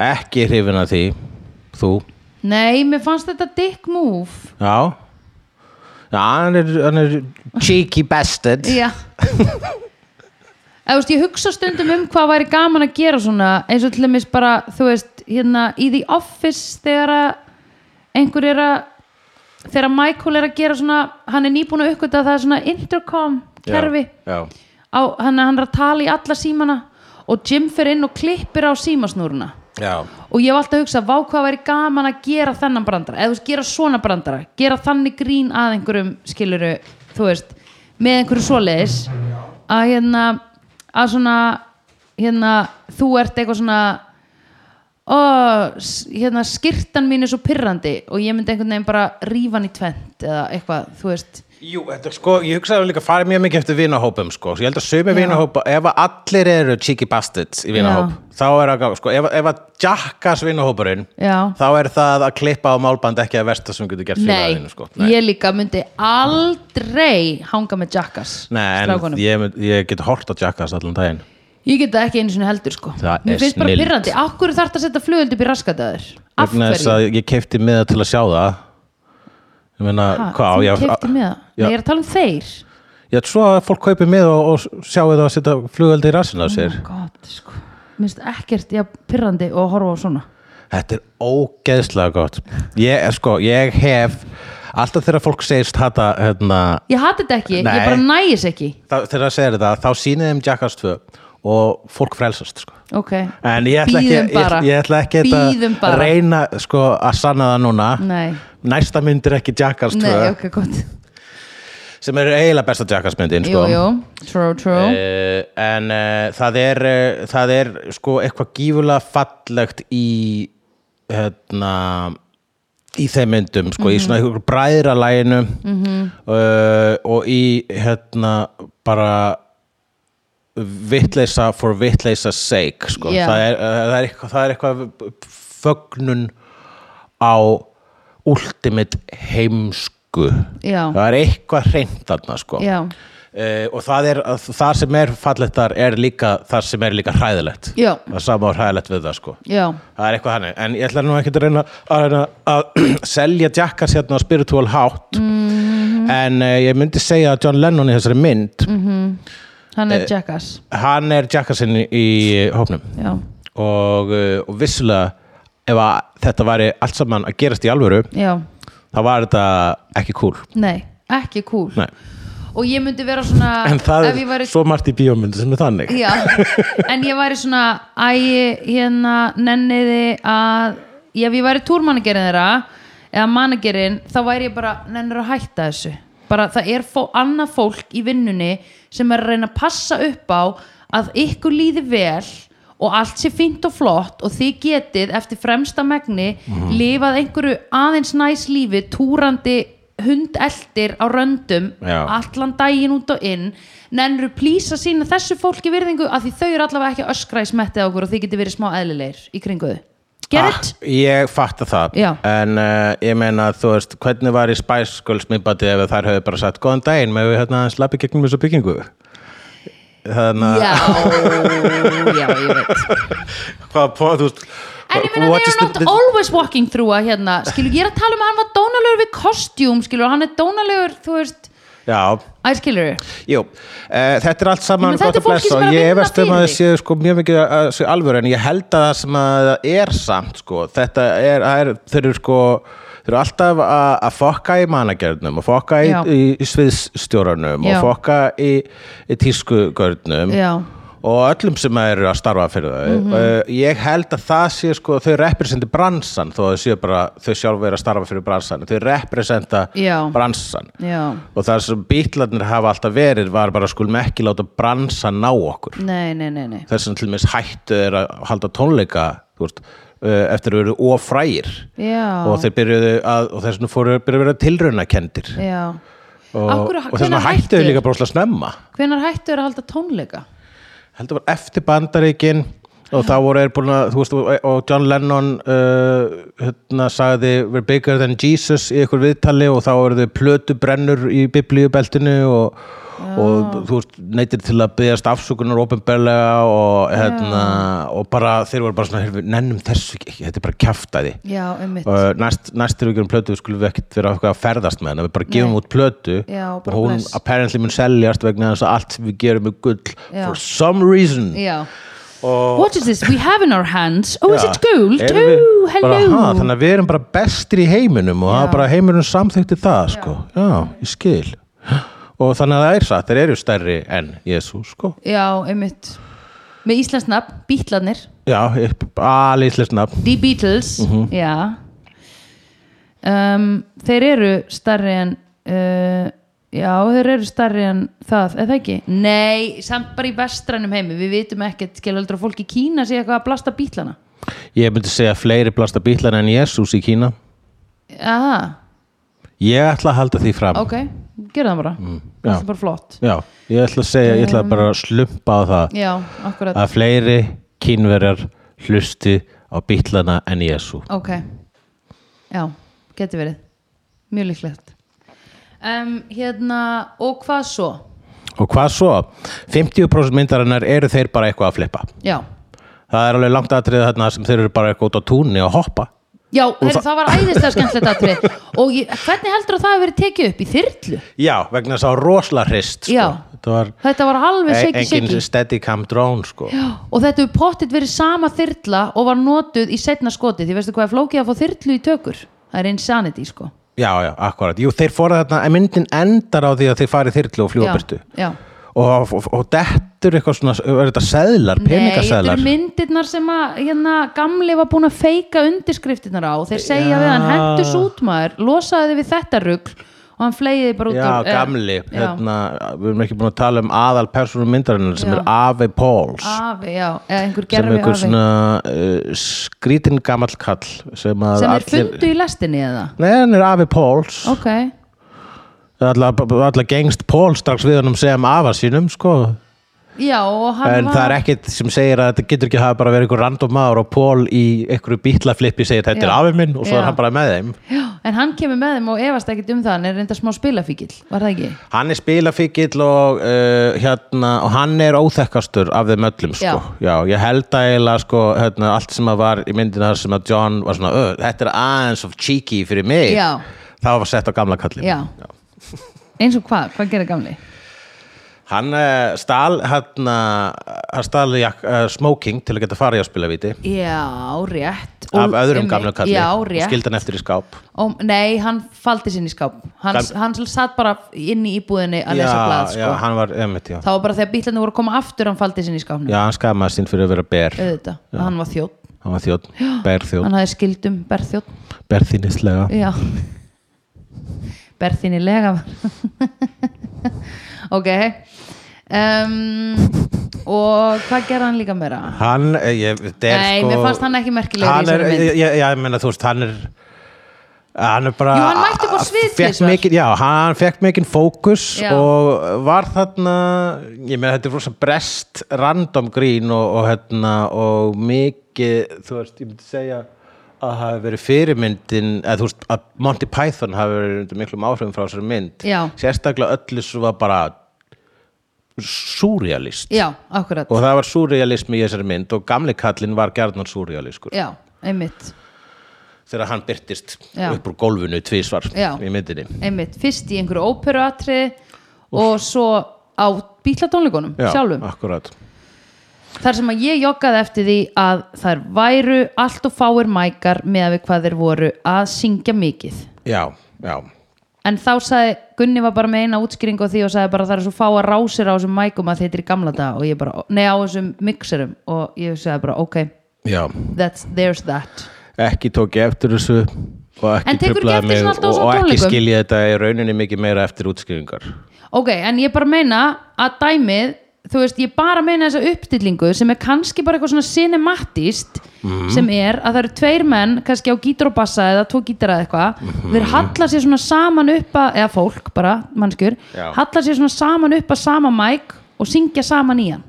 A: ekki hrifin að því þú,
B: Nei, mér fannst þetta dick move
A: já já, hann er, hann er cheeky bastard
B: Já Eða, þú veist, Ég hugsa stundum um hvað væri gaman að gera svona eins og til dæmis bara, þú veist hérna í The Office þegar að einhver er að þegar Michael er að gera svona hann er nýbúin að uppgöta að það er svona intercom kerfi
A: já, já.
B: á, hann, hann er að tala í alla símana og Jim fer inn og klippir á símasnúruna
A: Já.
B: og ég hef alltaf hugsað vá hvað væri gaman að gera þennan brandara eða þú veist, gera svona brandara, gera þannig grín að einhverjum skiluru, þú veist með einhverju svoleiðis að hérna, að svona hérna, þú ert eitthvað svona ó, s- hérna skirtan mín er svo pirrandi og ég myndi einhvern veginn bara rífa hann í tvent eða eitthvað, þú veist
A: Jú, þetta, sko, ég hugsaði líka að fara mjög mikið eftir vinahópum sko. ég held að sumi
B: Já.
A: vinahópa ef að allir eru cheeky bastards í vinahóp þá er það, sko, ef, ef að jakkas vinahópurinn
B: Já.
A: þá er það að klippa á málband ekki að versta sem getur gert
B: Nei,
A: félaginu sko.
B: ég líka myndi aldrei hanga með Jackass
A: Nei, en
B: strákunum.
A: ég, mun- ég get hort á Jackass allan daginn
B: Ég get það ekki einu sinni heldur sko
A: Það
B: Mér
A: er
B: finnst bara
A: snilld.
B: pyrrandi, akkur þarf að setja flugöld upp í raskataður Af
A: vegna þess
B: hverju?
A: að ég keipti miða til að sjá það ég meina,
B: Ha,
A: hvað á
B: þú
A: ég
B: keyptir með það? Nei,
A: Já.
B: ég er að tala um þeir
A: ég ætla svo að fólk kaupi miða og, og sjáu það að setja flugöldi í rassin á sér
B: God, sko Mér finnst ekkert, já, pyrrandi og horfa á svona
A: þetta er ógeðslega gott eh, ég, sko, ég hef alltaf þegar fólk segist hata hérna,
B: ég hati þetta ekki,
A: Nei.
B: ég bara nægis ekki
A: þá- þegar það segir þetta, þá sýnið þeim Jackass 2 og fólk frelsast sko.
B: ok,
A: en ég ætla ekki,
B: Bíðum
A: ég,
B: bara.
A: ég ætla ekki
B: Bíðum
A: þetta
B: bara.
A: reyna sko, að sanna það núna
B: Nei.
A: næsta mynd er ekki Jackass 2
B: nei, ok, gott
A: sem er eiginlega besta Jackass myndin
B: jú,
A: sko.
B: jú, true, true
A: Eh, en uh, það er uh, það er sko eitthvað gífulega fallegt í hérna í þeim myndum, sko,
B: Mhm.
A: í svona einhverjum bræðralæginu uh, og í hérna bara vitleisa for vitleisa sake, sko
B: Já.
A: það, er, uh, það, er eitthvað, það er eitthvað fögnun á ultimate heimsku
B: Já.
A: það er eitthvað hreint þarna, sko
B: já,
A: Uh, og það, er, það sem er fallettar er líka það sem er líka hræðilegt
B: Já.
A: það er sama og hræðilegt við það sko
B: já,
A: það er eitthvað hannig, en ég ætla nú ekki að reyna að, reyna að selja Jackass hérna á spiritual hátt
B: Mhm.
A: en uh, ég myndi segja að John Lennon í þessari mynd
B: hann
A: Eh.
B: er Jackass
A: hann er Jackassinn í, í hópnum
B: já,
A: og, uh, og vissulega ef að þetta væri allt saman að gerast í alvöru
B: já,
A: þá var þetta ekki cool
B: nei, ekki cool
A: Nei.
B: og ég myndi vera svona
A: en það
B: ef
A: er
B: ég væri
A: svo margt í bíómyndu sem er þannig
B: Já, en ég væri svona æ, hérna, nenniði að ef ég væri túrmanagerinn þeirra eða managerinn, þá væri ég bara nennir að hætta þessu bara það er fó, annað fólk í vinnunni sem er að reyna að passa upp á að ykkur líði vel og allt sé fínt og flott og þið getið eftir fremsta megni lifað einhverju aðeins næs lífi túrandi hundeltir á röndum
A: Já.
B: allan daginn út og inn nennur plýsa sína þessu fólki virðingu af því þau eru allavega ekki að öskra í smettið á okkur og þið getur verið smá eðlilegir í kringuðu Gerrit?
A: Ah, ég fatta það
B: Já.
A: en uh, ég meina þú veist hvernig var í Spice Girls minnbandið ef þær höfðu bara sagt góðan daginn með við hérna slappi gegnum þessu byggingu þannig
B: Já, já, ég veit
A: að hvað på þú veist
B: En ég meina
A: what
B: they
A: is
B: are not
A: the-
B: always walking through að hérna, skilur, ég er að tala um að hann var dónalegur við kostjúm, skilur, hann er dónalegur þú veist,
A: já,
B: æ, skilur
A: jú, uh, þetta er allt saman
B: Ég meina, þetta
A: gott
B: er
A: að
B: fólki
A: blessa
B: sem er
A: og
B: að
A: ég
B: vinna
A: efast um
B: fyrir
A: að það
B: þig.
A: sé sko, mjög mikið að- að sé alvöru en ég held að það sem að það er samt sko, þetta er, það er þau eru sko Þeir eru alltaf að að fokka í managerðnum og fokka í,
B: Já.
A: í, í sviðsstjóranum
B: Já.
A: og fokka í, í tískugörnum
B: Já, Mhm.
A: og öllum sem eru að starfa fyrir þau mm ég held að það sé sko þau representi bransan þó að þau séu bara þau sjálf eru að starfa fyrir bransan þau representa
B: Já.
A: bransan
B: já,
A: og það sem bítlarnir hafa alltaf verið var bara skulum ekki láta bransan ná okkur
B: nei, nei, nei, nei
A: þess að til mér hættu er að halda tónleika þú veist, eh, eftir að eru ofrægir
B: Já,
A: og þeir byrjuðu að og þess vegna fóru byrjuðu að vera tilraunakendir
B: já Af
A: og, og
B: hverju-
A: þess vegna
B: hvenær
A: hættu
B: hættu?
A: þeir líka brosla snemma
B: Hvenær hættu er að halda tónleika?
A: heldur var eftir bandaríkin og þá voru þeir búin að, þú veist, og- og John Lennon uh, hérna sagði we're bigger than Jesus í ykkur viðtali og þá eru þau plötu brennur í biblíubeltinu og, og þú veist, neytir til að byggast afsökunar ofinberlega og hérna, og bara, þeir voru bara svona "Heyrðu, nennum þessu ekki, þetta er bara kjaftaði
B: Já, um mitt
A: og næst, næst er við gerum plötu skulum við ekkert vera eitthvað að ferðast með hennar við bara gefum út plötu
B: Já,
A: og
B: bara
A: hún
B: bless.
A: apparently mun seljast vegna þess að allt sem við gerum er gull
B: Já.
A: for some reason
B: Já What is this we have in our hands? Oh, is
A: Já.
B: it gold?
A: Erum við
B: Oh,
A: bara,
B: hello
A: ha, þannig að við erum bara bestir í heiminum og það er bara heiminum samþykti það sko. já, ég skil og þannig að það er satt, þeir eru stærri en Jésús sko.
B: Já, einmitt Með íslensk nafn, Bítlarnir
A: já, alíslega nafn
B: The Beatles
A: Mhm.
B: Já um, Þeir eru starri en uh, Já, þeir eru starri en það, eða ekki? Nei, samt bara í vestrænum heimi Við vitum ekkert, skilur heldur að fólk í Kína sé eitthvað að blasta bítlana
A: ég myndi segja fleiri blasta bílar en Jésús í Kína
B: Aha,
A: ég ætla að halda því fram
B: ok, gerðu það bara
A: Mm, já.
B: Það er bara flott
A: já, ég ætla að segja, ég ætla bara að slumpa á það
B: Já, akkurat
A: að fleiri kínverjar hlusti á bítlana en Jésu
B: Ok Já, geti verið Mjög líklegt um, Hérna, og hvað svo?
A: og hvað svo? 50% myndarinnar eru þeir bara eitthvað að flippa
B: Já,
A: það er alveg langt atrið þarna sem þeir eru bara eitthvað út á túnni að hoppa
B: já heru, það var æðislega skemmtilegt atrið Og ég, hvernig heldur að það hefur verið tekið upp í þyrlu?
A: já, vegna þess að rosla hrist sko.
B: Já.
A: þetta var
B: Þetta var alveg
A: e-
B: seki
A: engin
B: seki
A: steadicam drone sko.
B: Og þetta hefur pottitt verið sama þyrla og var notuð í setna skotið Því veistu hvað er flókið að fá þyrlu í tökur? Það er insanity sko
A: já, já, akkurat Jú, þeir fóra þarna, en myndin endar á því að þeir farið þyrlu og fljúa burtu
B: já, já.
A: og, og, og dettur eitthvað svona, verður þetta seðlar,
B: Nei, þetta
A: peningaseðlar
B: eru myndirnar sem að hérna, gamli var búin að feika undirskriftirnar á þeir segja við hann, hendur sútmaður losaði þið við þetta rugl og hann fleiði bara út
A: Já,
B: úr eh,
A: gamli,
B: já,
A: hérna, við erum ekki búin að tala um aðal persónum myndarinnar sem
B: Já.
A: er Ave Pauls
B: afi, já, eða einhver
A: sem
B: gerfi
A: einhver
B: afi
A: svona uh, skrítin gamall kall sem, að
B: sem er
A: allir-
B: fundu í lestinni eða
A: Nei, hann er Afi Pauls
B: ok,
A: Alla, alla gengst Pól strax við honum sem afa sínum sko.
B: já og hann
A: en
B: var
A: það er ekkit sem segir að þetta getur ekki að hafa bara verið einhver random maður og Pól í einhverju bítlaflippi segir þetta er
B: Já.
A: afi minn og svo
B: Já.
A: er hann bara með þeim
B: já, en hann kemur með þeim og efast ekkit um það hann er reynda smá spilafíkil, var það ekki?
A: hann er spilafíkill og, uh, hérna, og hann er óþekkastur af þeim öllum sko.
B: Já.
A: Já, ég held að eiginlega sko, hérna, allt sem að var í myndina þar sem að John var svona "Ö, þetta er aðeins of cheeky fyrir mig
B: Já.
A: það var sett á gamla kallin
B: já, eins og hvað, hvað gerir gamli?
A: Hann uh, stal, hann, hann stal jak, uh, smoking til að geta farið á spilavíti
B: já, rétt
A: af
B: Og-
A: öðrum
B: einmitt,
A: gamla kalli
B: já,
A: og
B: rétt
A: skildi hann eftir í skáp
B: Ó, nei, hann faldi sinni í skáp hann,
A: Gam-
B: hann satt bara inn í íbúðinni að lesa
A: já,
B: blað sko.
A: já, hann var, emitt, já.
B: það var bara þegar bílarnir voru að koma aftur hann faldi sinni í skápnum
A: já, hann skamaði sín fyrir að vera ber
B: auðvitað, hann var þjótt,
A: hann var þjótt, berþjótt,
B: hann hafði skildum berþjótt,
A: berþýnislega
B: já berþinni lega ok um, og hvað gerði hann líka meira?
A: Hann, eh, ég, þetta er
B: Nei,
A: sko
B: mér fannst hann ekki merkilegur í
A: Hann er, eh,
B: þessari mynd.
A: ég, ég, ég meina, þú veist, hann er Hann er bara
B: Jú, hann mætti upp á svið
A: fékk
B: tvisvar.
A: mikinn- Já, hann fekk mikinn fókus
B: Já.
A: og var þarna ég meina, þetta er rosa brest random grín og, og hérna og mikið, þú veist, ég myndi segja að hafi verið fyrirmyndin eða þú veist, að Monty Python hafi verið undir miklum áhrifum frá þessari mynd
B: Já.
A: sérstaklega öllu svo var bara surrealist
B: já, akkurat,
A: og það var surrealismi í þessari mynd og gamli kallinn var gjarnan surrealiskur
B: já, einmitt
A: þegar hann byrtist
B: Já.
A: upp úr gólfinu tvísvar
B: Já.
A: í myndinni
B: einmitt, fyrst í einhverju óperuatri og svo á bílatónleikunum
A: Já,
B: sjálfum
A: akkurat.
B: þar sem að ég joggaði eftir því að þær væru allt og fáir mækar með að við hvað þeir voru að syngja mikið
A: Já, já,
B: en þá sagði, Gunni var bara með eina útskýring á því og sagði bara það er svo fáar rásir á þessum mækum að þetta er í gamla dag og ég bara, nei á þessum mixerum og ég sagði bara ok,
A: já
B: that's, there's that
A: ekki tók ég eftir þessu og
B: En
A: ekki
B: tekurðu ekki
A: truflaði
B: eftir
A: mig
B: svona
A: og,
B: alltaf á svona
A: og ekki
B: tónleikum?
A: skilja þetta í rauninni mikið meira eftir útskýringar
B: ok, en ég bara meina að dæmið þú veist, ég bara meina þessa uppstillingu sem er kannski bara eitthvað svona cinematist
A: Mhm.
B: sem er að það eru tveir menn kannski á gítar og bassa eða tvo gítar eða eitthvað,
A: Mhm.
B: þeir halla sér svona saman upp að, eða fólk bara, mannskjur
A: Já.
B: halla sér svona saman upp að sama mæk og syngja saman í hann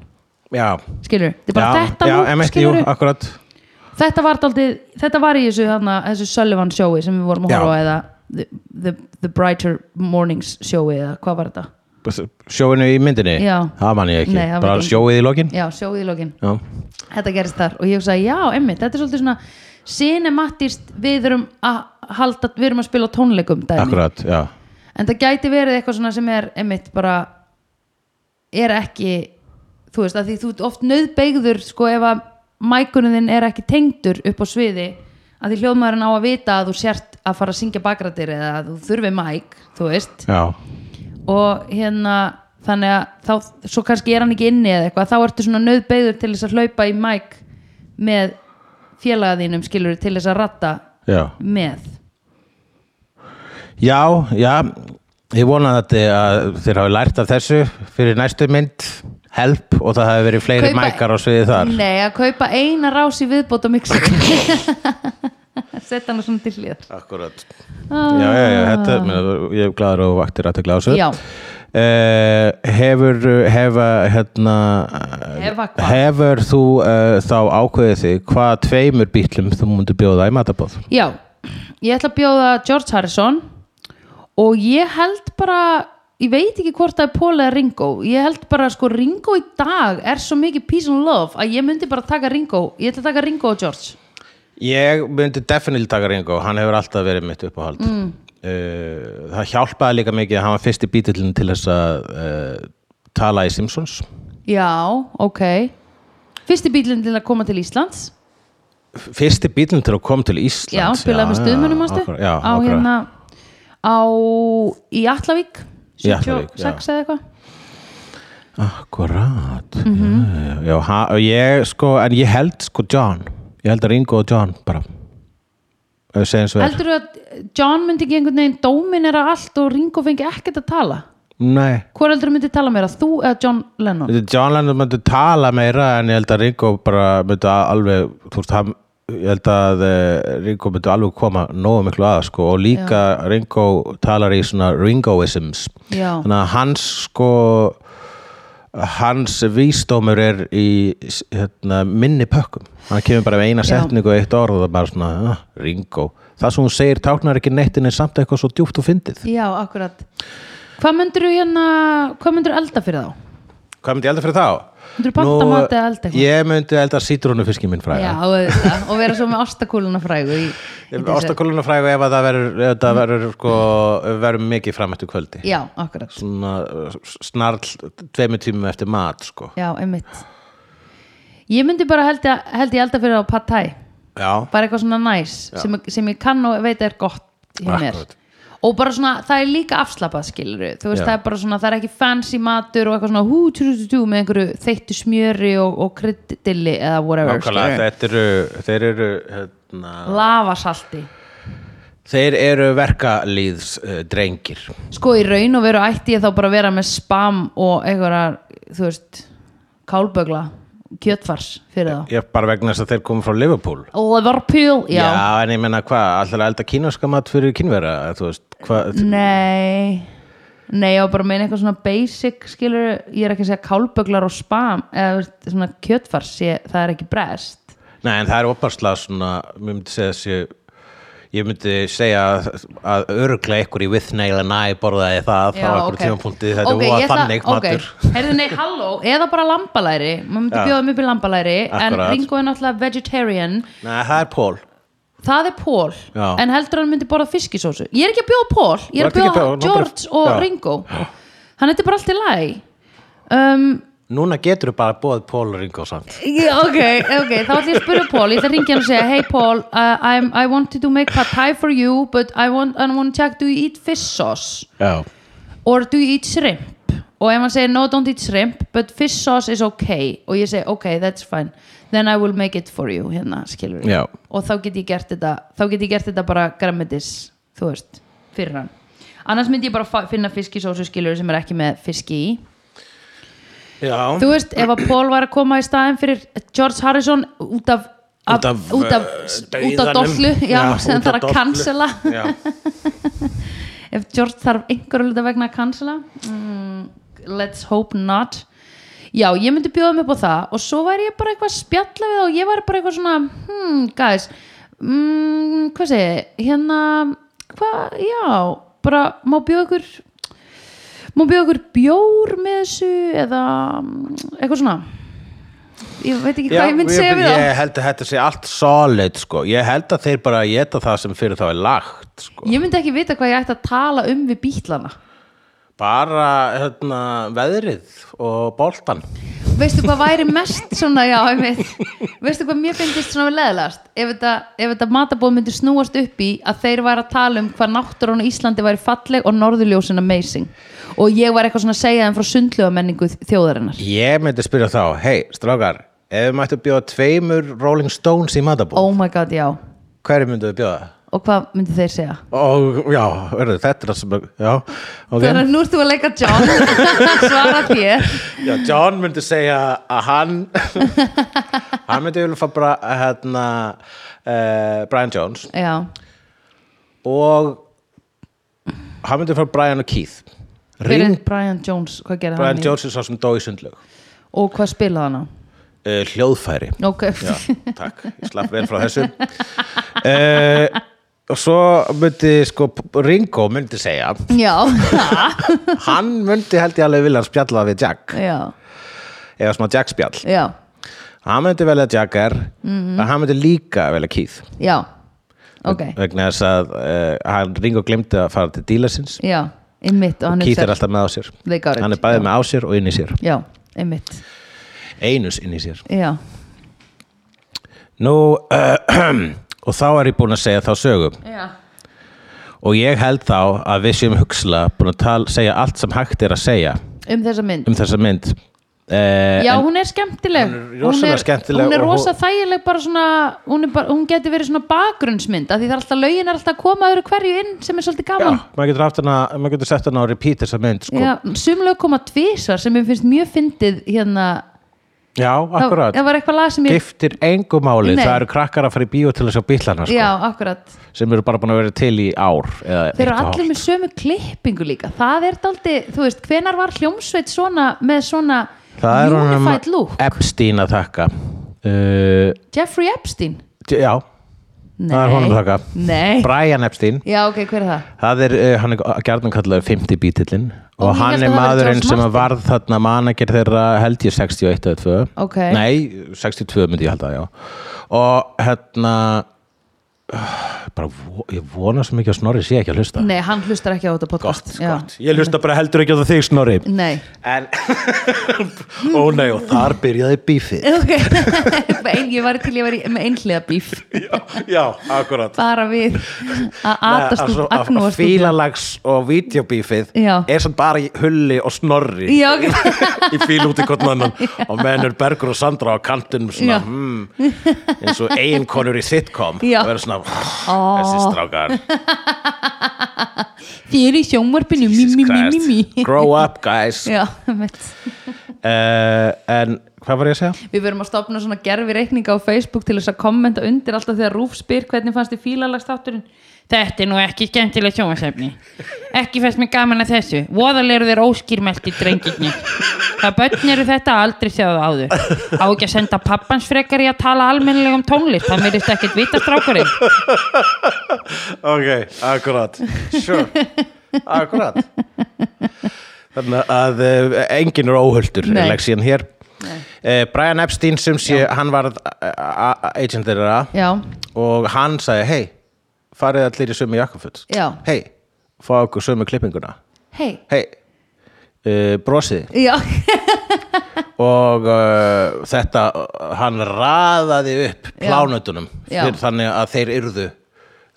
A: Já,
B: skilur, þetta er bara
A: já,
B: þetta
A: já,
B: lúk,
A: emitt, jú,
B: skilurðu?
A: akkurat
B: þetta var daldið, þetta var í þessu, hana, þessu Sullivan sjói sem við vorum að
A: Já.
B: horfa á eða the, the, the Brighter Mornings sjói eða hvað var þetta?
A: Sjóinu í myndinni,
B: Já.
A: það man ég ekki
B: Nei, það man
A: bara
B: ekki.
A: sjóið í lokin
B: Já, sjóið í lokin
A: Já,
B: þetta gerist þar og ég hugsaði já, emmitt, þetta er svolítið svona cinematist við erum að halda, við erum að spila á tónleikum dæmi,
A: akkurat, já
B: en það gæti verið eitthvað svona sem er emmitt bara er ekki þú veist, að því þú ert oft nöðbeigður sko ef að mækunum þinn er ekki tengdur upp á sviði að því hljóðmaðurinn á að vita að þú sért að fara að syngja bakratir eða að þú þurfi mæk þú veist
A: Já,
B: og hérna þannig að þá, svo kannski er hann ekki inni eða eitthvað, þá ertu svona nöðbeigður til þess að hlaupa í mæk með félagaðinum skilur til þess að ratta
A: já
B: með
A: Já, já, ég vona að, þið- að þeir hafi lært af þessu fyrir næstu mynd, help og það hafi verið fleiri mækar á sviði þar
B: Nei, að kaupa eina rás í viðbót og mixi Setta hana svona til hlýðar
A: Akkurat Já, já, já, þetta, menn, ég er gladur og vaktir að tegla á þessu
B: Já.
A: Eh, hefur, hefa, hérna,
B: Hefa hvað?
A: hefur þú uh, þá ákveðið þig hvaða tveimur bítlum þú múndir bjóða í matabóð?
B: Já, ég ætla að bjóða George Harrison og ég held bara ég veit ekki hvort það er Paul eða Ringo ég held bara sko Ringo í dag er svo mikið peace and love að ég myndi bara taka Ringo ég ætla að taka Ringo og George
A: Ég myndi definitely taka Ringo, hann hefur alltaf verið mitt uppáhald mm. Það hjálpaði líka mikið að hann var fyrsti bítillin til þess að uh, tala í Simpsons
B: Já, ok Fyrsti bílinn til að koma til Íslands
A: Fyrsti bítillin til að koma til Ísland
B: Já, spilaði með stuðmönnum ástu
A: Já,
B: á, hérna, á, í Allavík
A: Í Atlavík, já.
B: 76 eða eitthvað
A: Akkurát já, já, ha, og ég sko, en ég held sko John ég held að Ringo og John bara Ef við segjum svo er.
B: heldur að John myndi ekki einhvern veginn dóminera allt og Ringo fengi ekkert að tala
A: Nei,
B: hvað heldur myndi tala meira, þú eða John Lennon
A: Þetta John Lennon myndi tala meira en ég held að Ringo bara myndi a- alveg þú veist, hann, ég held að eh, Ringo myndi alveg koma nógu miklu að sko, og líka Ringo talar í svona Ringoisms
B: Já.
A: þannig að hans sko hans vísdómur er í s- hérna, minni pökkum hann kemur bara með eina
B: Já.
A: setningu og eitt orð og það er bara svona, ah, Ringo það sem hún segir táknar ekki neittin er samt eitthvað svo djúpt og fyndið
B: já, akkurat hvað myndir hérna, hvað myndir elda fyrir þá?
A: Hvað myndi ég elda fyrir þá?
B: Myndirðu panta
A: Nú,
B: mat eða elda eitthvað?
A: Ég myndi elda sítrónufiskin minn
B: Já,
A: fræga.
B: auðvitað, og vera svo með ástakúluna frægu í, í þessu.
A: Ástakóluna fræga ef að það verður, ef það verður, sko, verður mikið fram eftir kvöldi.
B: já, akkurat
A: Svona uh, snarl tveimur tímum eftir mat, sko.
B: já, einmitt ég myndi bara held, ég- held ég elda fyrir á pad thai
A: Já.
B: bara eitthvað svona næs sem, sem ég kann og veit er gott hjá mér
A: Akkurat.
B: og bara svona, það er líka afslapað skilur þú veist,
A: Já.
B: það er bara svona, það er ekki fancy matur og eitthvað svona hú, tjú, tjú, tjú, með einhverju þeittu smjöri og, og kryddilli eða whatever,
A: Nákvæmlega,
B: skilurðu.
A: þetta eru, þeir eru, hérna,
B: lavasalti
A: þeir eru verkalýðs uh, drengir.
B: sko í raun og veru ætti ég þá bara að vera með spam og einhverjar, þú veist kálbögla, kjötfars fyrir þá,
A: Ég bara vegna þess að þeir komu frá Liverpool.
B: Liverpool já,
A: en ég menna hvað, alltaf elda kínaska mat fyrir kínverða, þú veist, hvað,
B: Nei Nei, ég var bara að meina eitthvað svona basic skilur, ég er ekki að segja kálböglar og spam eða þú veist, svona kjötfars ég, það er ekki brest
A: Nei, en það er opaslega svona, ég myndi segja þessi, ég myndi segja að, að öruglega ykkur í With Nail and I borðaði það frá ykkur okay. tímapunkti, þetta
B: Ok,
A: okay,
B: ég
A: var
B: ætla-
A: þannig
B: ok.
A: matur.
B: Heyrðu, nei, halló, eða bara lambalæri maður myndi
A: Já.
B: bjóða mig upp í lambalæri en
A: Akkurat.
B: Ringo er náttúrulega vegetarian
A: Nei, það er Pól.
B: það er Pól,
A: Já.
B: en heldur hann myndi borða fiskisósu ég er ekki að bjóða Pól, ég
A: Þú
B: er að
A: ert ekki
B: bjóða
A: að bjóða-
B: George
A: nú
B: og
A: bara- Já.
B: Ringo hann heitir bara allt í lagi um,
A: Núna getur þú bara bóðið Pól og Ringo samt.
B: Já, ok, ok, þá ætlum ég að spyrja Paul ég ætla að ringja hann og segja, hey Paul uh, I'm, I wanted to make pad thai for you but I want, I want to check, do you eat fish sauce
A: Já.
B: or do you eat shrimp og ef hann segir, no don't eat shrimp but fish sauce is ok og ég segi, ok, that's fine then I will make it for you, hérna, skilur
A: Já.
B: og þá get ég gert þetta þá get ég gert þetta bara grammetis þú veist, fyrir hann annars myndi ég bara fa- finna fiskisósu skilur sem er ekki með fiski í
A: Já.
B: Þú veist, ef að Paul var að koma í staðin fyrir George Harrison út af
A: Út af,
B: út af,
A: eh,
B: út af
A: dauðanum.
B: dollu já,
A: Já,
B: sem
A: út af
B: þarf að
A: dollu.
B: cancela
A: Já.
B: ef George þarf einhverju hluta vegna að cancela mm, let's hope not já, ég myndi bjóða mig upp á það og svo væri ég bara eitthvað að spjalla við þá og ég væri bara eitthvað svona, hmm, guys mm, hvað segi, ég? hérna hvað, já bara, má bjóða ykkur má bjóða ykkur bjór með þessu eða mm, eitthvað svona ég veit ekki
A: Já,
B: hvað ég myndi segja við þá
A: Ég held að þetta sé allt solid, sko. Ég held að þeir bara geta það sem fyrir þá er lagt, sko.
B: Ég myndi ekki vita hvað ég ætti að tala um við bítlana
A: Bara, hérna, veðrið og boltan.
B: Veistu hvað væri mest svona, já, einmitt Veistu hvað mér finnst svona við leðilegast ef þetta, ef þetta matabóð myndi snúast upp í að þeir væri að tala um hvað náttúrun á Íslandi væri falleg og norðurljósin amazing og ég var eitthvað svona að segja þeim frá sundlega menningu þjóðarinnar
A: Ég myndi spyrja þá, hei, strákar, ef við mættu bjóða tveimur Rolling Stones í matabú, oh.
B: Oh my god, já
A: hverju myndu við bjóða?
B: Og hvað myndi þeir segja?
A: Og já, verður þetta er það sem, já, ok.
B: Þannig að nú ert þú að leika John Svara þér
A: Já, John myndi segja að hann, hann myndi vilja fá bara, hérna, uh, Brian Jones
B: Já,
A: og hann myndi fá Brian og Keith.
B: hver er
A: Ring,
B: Brian Jones? Hvað gerði
A: Brian
B: hann? í-
A: Jones er sá sem dói sundlög.
B: Og hvað spilaði hann á?
A: Uh, hljóðfæri.
B: Ok,
A: Já, takk, ég slapp vel frá þessu uh, og svo myndi sko Ringo myndi segja
B: já.
A: hann myndi held ég alveg vilja spjalla við Jack
B: já,
A: eða smá Jack spjall
B: já,
A: hann myndi velja Jagger
B: Mhm.
A: en hann myndi líka velja Keith
B: já ok,
A: vegna þess að uh, hann Ringo glemdi að fara til dílasins
B: já, einmitt og hann
A: Keith er
B: er
A: alltaf með á sér
B: They got it,
A: hann er bæðið
B: já.
A: með á sér og inn í sér
B: já, einmitt,
A: einus inn í sér
B: já
A: Nú, uh, og þá er ég búin að segja þá sögum
B: já,
A: og ég held þá að við séum hugsla búin að tala, segja allt sem hægt er að segja
B: um þessa mynd
A: um þessa mynd eh,
B: Já,
A: en-
B: hún er skemmtileg
A: Hún er rosalega skemmtileg
B: Hún er
A: og hún-
B: rosa þægileg bara svona hún, er bara, hún geti verið svona bakgrunnsmynd af því það er alltaf lögin er alltaf að koma öðru hverju inn sem er svolítið
A: Já,
B: gaman
A: maður getur, haft hana, maður getur sett hana á repeat þessa mynd sko.
B: Já, sumlega koma tvisvar sem mér finnst mjög fyndið hérna
A: Já, akkurat
B: Það var eitthvað lag sem ég
A: Giftir engu máli,
B: Nei.
A: það eru krakkar að fara í bíó til að sjá bílana sko,
B: Já, akkurat
A: sem eru bara búin að vera til í ár eða
B: Þeir eru
A: eitt og
B: allir
A: hálft.
B: með sömu klippingu líka Það er daldi, þú veist, hvenar var hljómsveit svona með svona
A: Það er honum
B: unified look
A: Epstein að þakka uh,
B: Jeffrey Epstein
A: Já,
B: Nei.
A: það er honum að þakka
B: Nei
A: Brian Epstein
B: Já, ok, hver er það?
A: Það er, uh, hann er gerðan kallaður 50 bítillinn
B: Og
A: og
B: ég
A: hann
B: held
A: er
B: að það væri
A: maðurinn
B: Charles
A: sem að
B: Martin.
A: varð þarna manager þeirra held ég 61 eða 2
B: Ok.
A: Nei, 62 myndi ég held að, já Og hérna uh, bara, vo- ég vona svo mikið að Snorri sé ekki að hlusta
B: Nei, hann hlustar ekki á þetta podcast
A: Gott,
B: Já.
A: gott Ég hlusta bara heldur ekki á það þig Snorri
B: Nei
A: En, ó nei, og þar byrjaði bífið
B: Ok, Ein, ég var til ég var í, með einhliða bíf
A: Já, já, akkurat
B: bara við að atast út, agnúast út
A: Fílalags og vídeobífið
B: Já.
A: er samt bara í hulli og snorri
B: Já, ok
A: í fíl út í hvort annan og menn er Bergur og Sandra á kantinum svona,
B: Já.
A: hmm, eins og eiginkonur í sitcom
B: Já.
A: og verður svona, þessi strákar
B: Þið eru í sjónvarpinu, mí,
A: Jesus
B: mí, mí, mí,
A: Christ.
B: mí
A: grow up guys uh,
B: Já, mitt
A: en hvað var ég að segja?
B: Við verum að stopna svona gerfi reikninga á Facebook til þess að kommenta undir alltaf þegar Rúf spyr hvernig fannst þið fílalagstátturinn
E: Þetta er nú ekki skemmtilega sjónvarsefni. Ekki fæst mér gaman að þessu. Voðal eru þeir óskýrmelti drengirni. Það börn eru þetta aldrei séð áður. Á ekki að senda pappans frekar í að tala almennilega um tónlist. Það myrðist ekkert vita strákurinn.
A: ok, akkurat sure, akkurat þannig að uh, enginn er óhultur
B: Nei.
A: er leksían hér uh, Brian Epstein sem sé, hann var agent þeirra
B: Já,
A: og hann sagði, hei farið allir í sömu jakkafutt
B: Já.
A: hei, fá okkur sömu klippinguna
B: hei
A: hei, uh, brosið
B: Já,
A: og uh, þetta uh, hann raðaði upp plánutunum
B: Já.
A: fyrir, þannig að þeir yrðu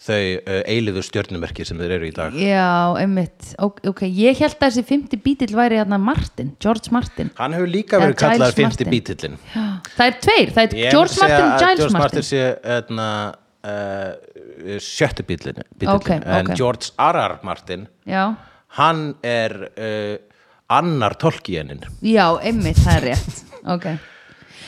A: þau uh, eiliðu stjörnumerki sem þeir eru í dag
B: já, einmitt Ok, okay. ég held að þessi 50 bítill væri hérna Martin, George Martin
A: hann hefur líka
B: Já,
A: verið
B: Giles
A: kallaður 50
B: Martin.
A: bítillin
B: Já. Það er tveir, það er George Martin og Giles
A: George
B: Martin
A: Martin sé hérna, etna, uh, sjöttu bítillin, bítillin.
B: Ok,
A: en
B: ok.
A: George R.R. Martin
B: Já,
A: hann er uh, annar tolkienin
B: Já, einmitt, það er rétt Ok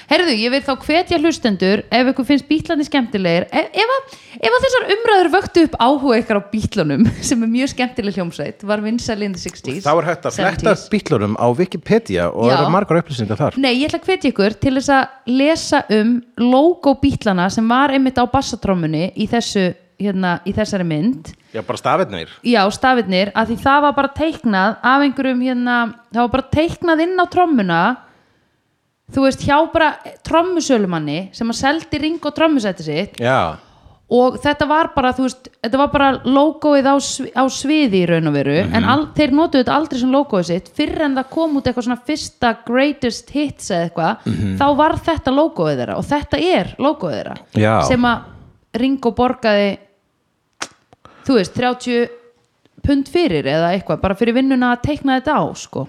B: Herðu, ég vil þá hvetja hlustendur ef ykkur finnst bítlandi skemmtilegir ef, ef, að, ef að þessar umræður vöktu upp áhuga ykkar á bítlunum sem er mjög skemmtileg hljómsveit var vinsæli in the 60s
A: þá er hægt að fletta
B: 70s.
A: bítlunum á Wikipedia og
B: Já.
A: eru margar upplýsingar þar
B: Nei, ég ætla að hvetja ykkur til þess að lesa um logo bítlana sem var einmitt á bassatrómunni í, þessu, hérna, í þessari mynd
A: já, bara stafirnir
B: Já, stafirnir, að því það var bara teiknað af einhverjum hérna, það var bara teiknað inn á trommuna þú veist, hjá bara trommusölumanni sem að seldi ring og trommusætti sitt
A: já,
B: og þetta var bara, þú veist, þetta var bara logoið á, svi- á sviði í raun og veru en al, þeir notuðu þetta aldrei sem logoið sitt fyrr en það kom út eitthvað svona fyrsta greatest hits eða eitthvað þá var þetta logoið þeirra og þetta er logoið þeirra
A: Já.
B: sem að Ringo borgaði þú veist, 30 pund fyrir eða eitthvað, bara fyrir vinnuna að teikna þetta á, sko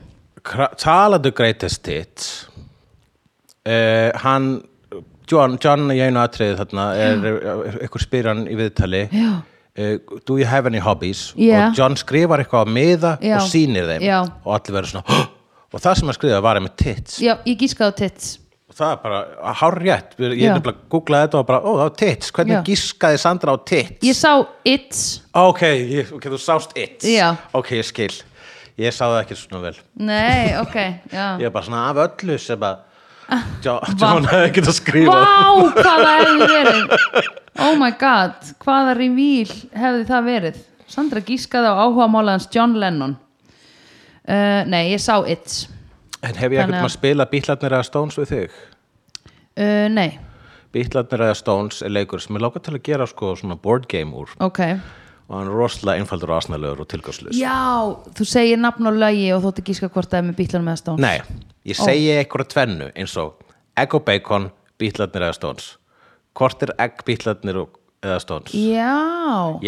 A: Kra- talandi um greatest hits uh, hann John, John í einu atriði þarna er, er ykkur spyr hann í viðtali
B: Já.
A: eh, do you have any hobbies
B: Já.
A: og John skrifar eitthvað á miða
B: Já.
A: og sýnir þeim
B: Já.
A: og allir verður svona "Hå!" og það sem hann skrifaði var einmitt tits
B: Já, ég gískaði á tits
A: og það er bara hár rétt ég
B: Já.
A: nefnilega googlaði þetta og bara, ó það var tits hvernig
B: Já.
A: gískaði Sandra á tits Ah,
B: Ég sá its,
A: ok, ég, ok, þú sást it
B: Já.
A: ok, ég skil ég sá það ekki svona vel
B: nei, ok já.
A: ég er bara svona af öllu sem að Jo- John hefði getað skrifað
B: Vá, hvað það hefði verið Oh my god, hvaða revíl hefði það verið Sandra gískaði á áhuga málaðans John Lennon uh, Nei, ég sá It
A: en hef ég
B: Þannig
A: ekkert
B: að-
A: maður spila Bítlarnir eða Stones við þig
B: uh, Nei,
A: Bítlarnir eða Stones er leikur sem er lákað til að gera sko svona board game úr
B: ok
A: og hann er rosalega einfaldur og asnalögur og tilgangslust
B: Já, þú segir nafn og lagi og þú ætti gíska hvort það er með bílanum eða stón
A: nei, ég segi oh. eitthvað tvennu eins og egg og bacon, Bítlarnir eða Stones hvort er egg Bítlarnir og eða Stones
B: Já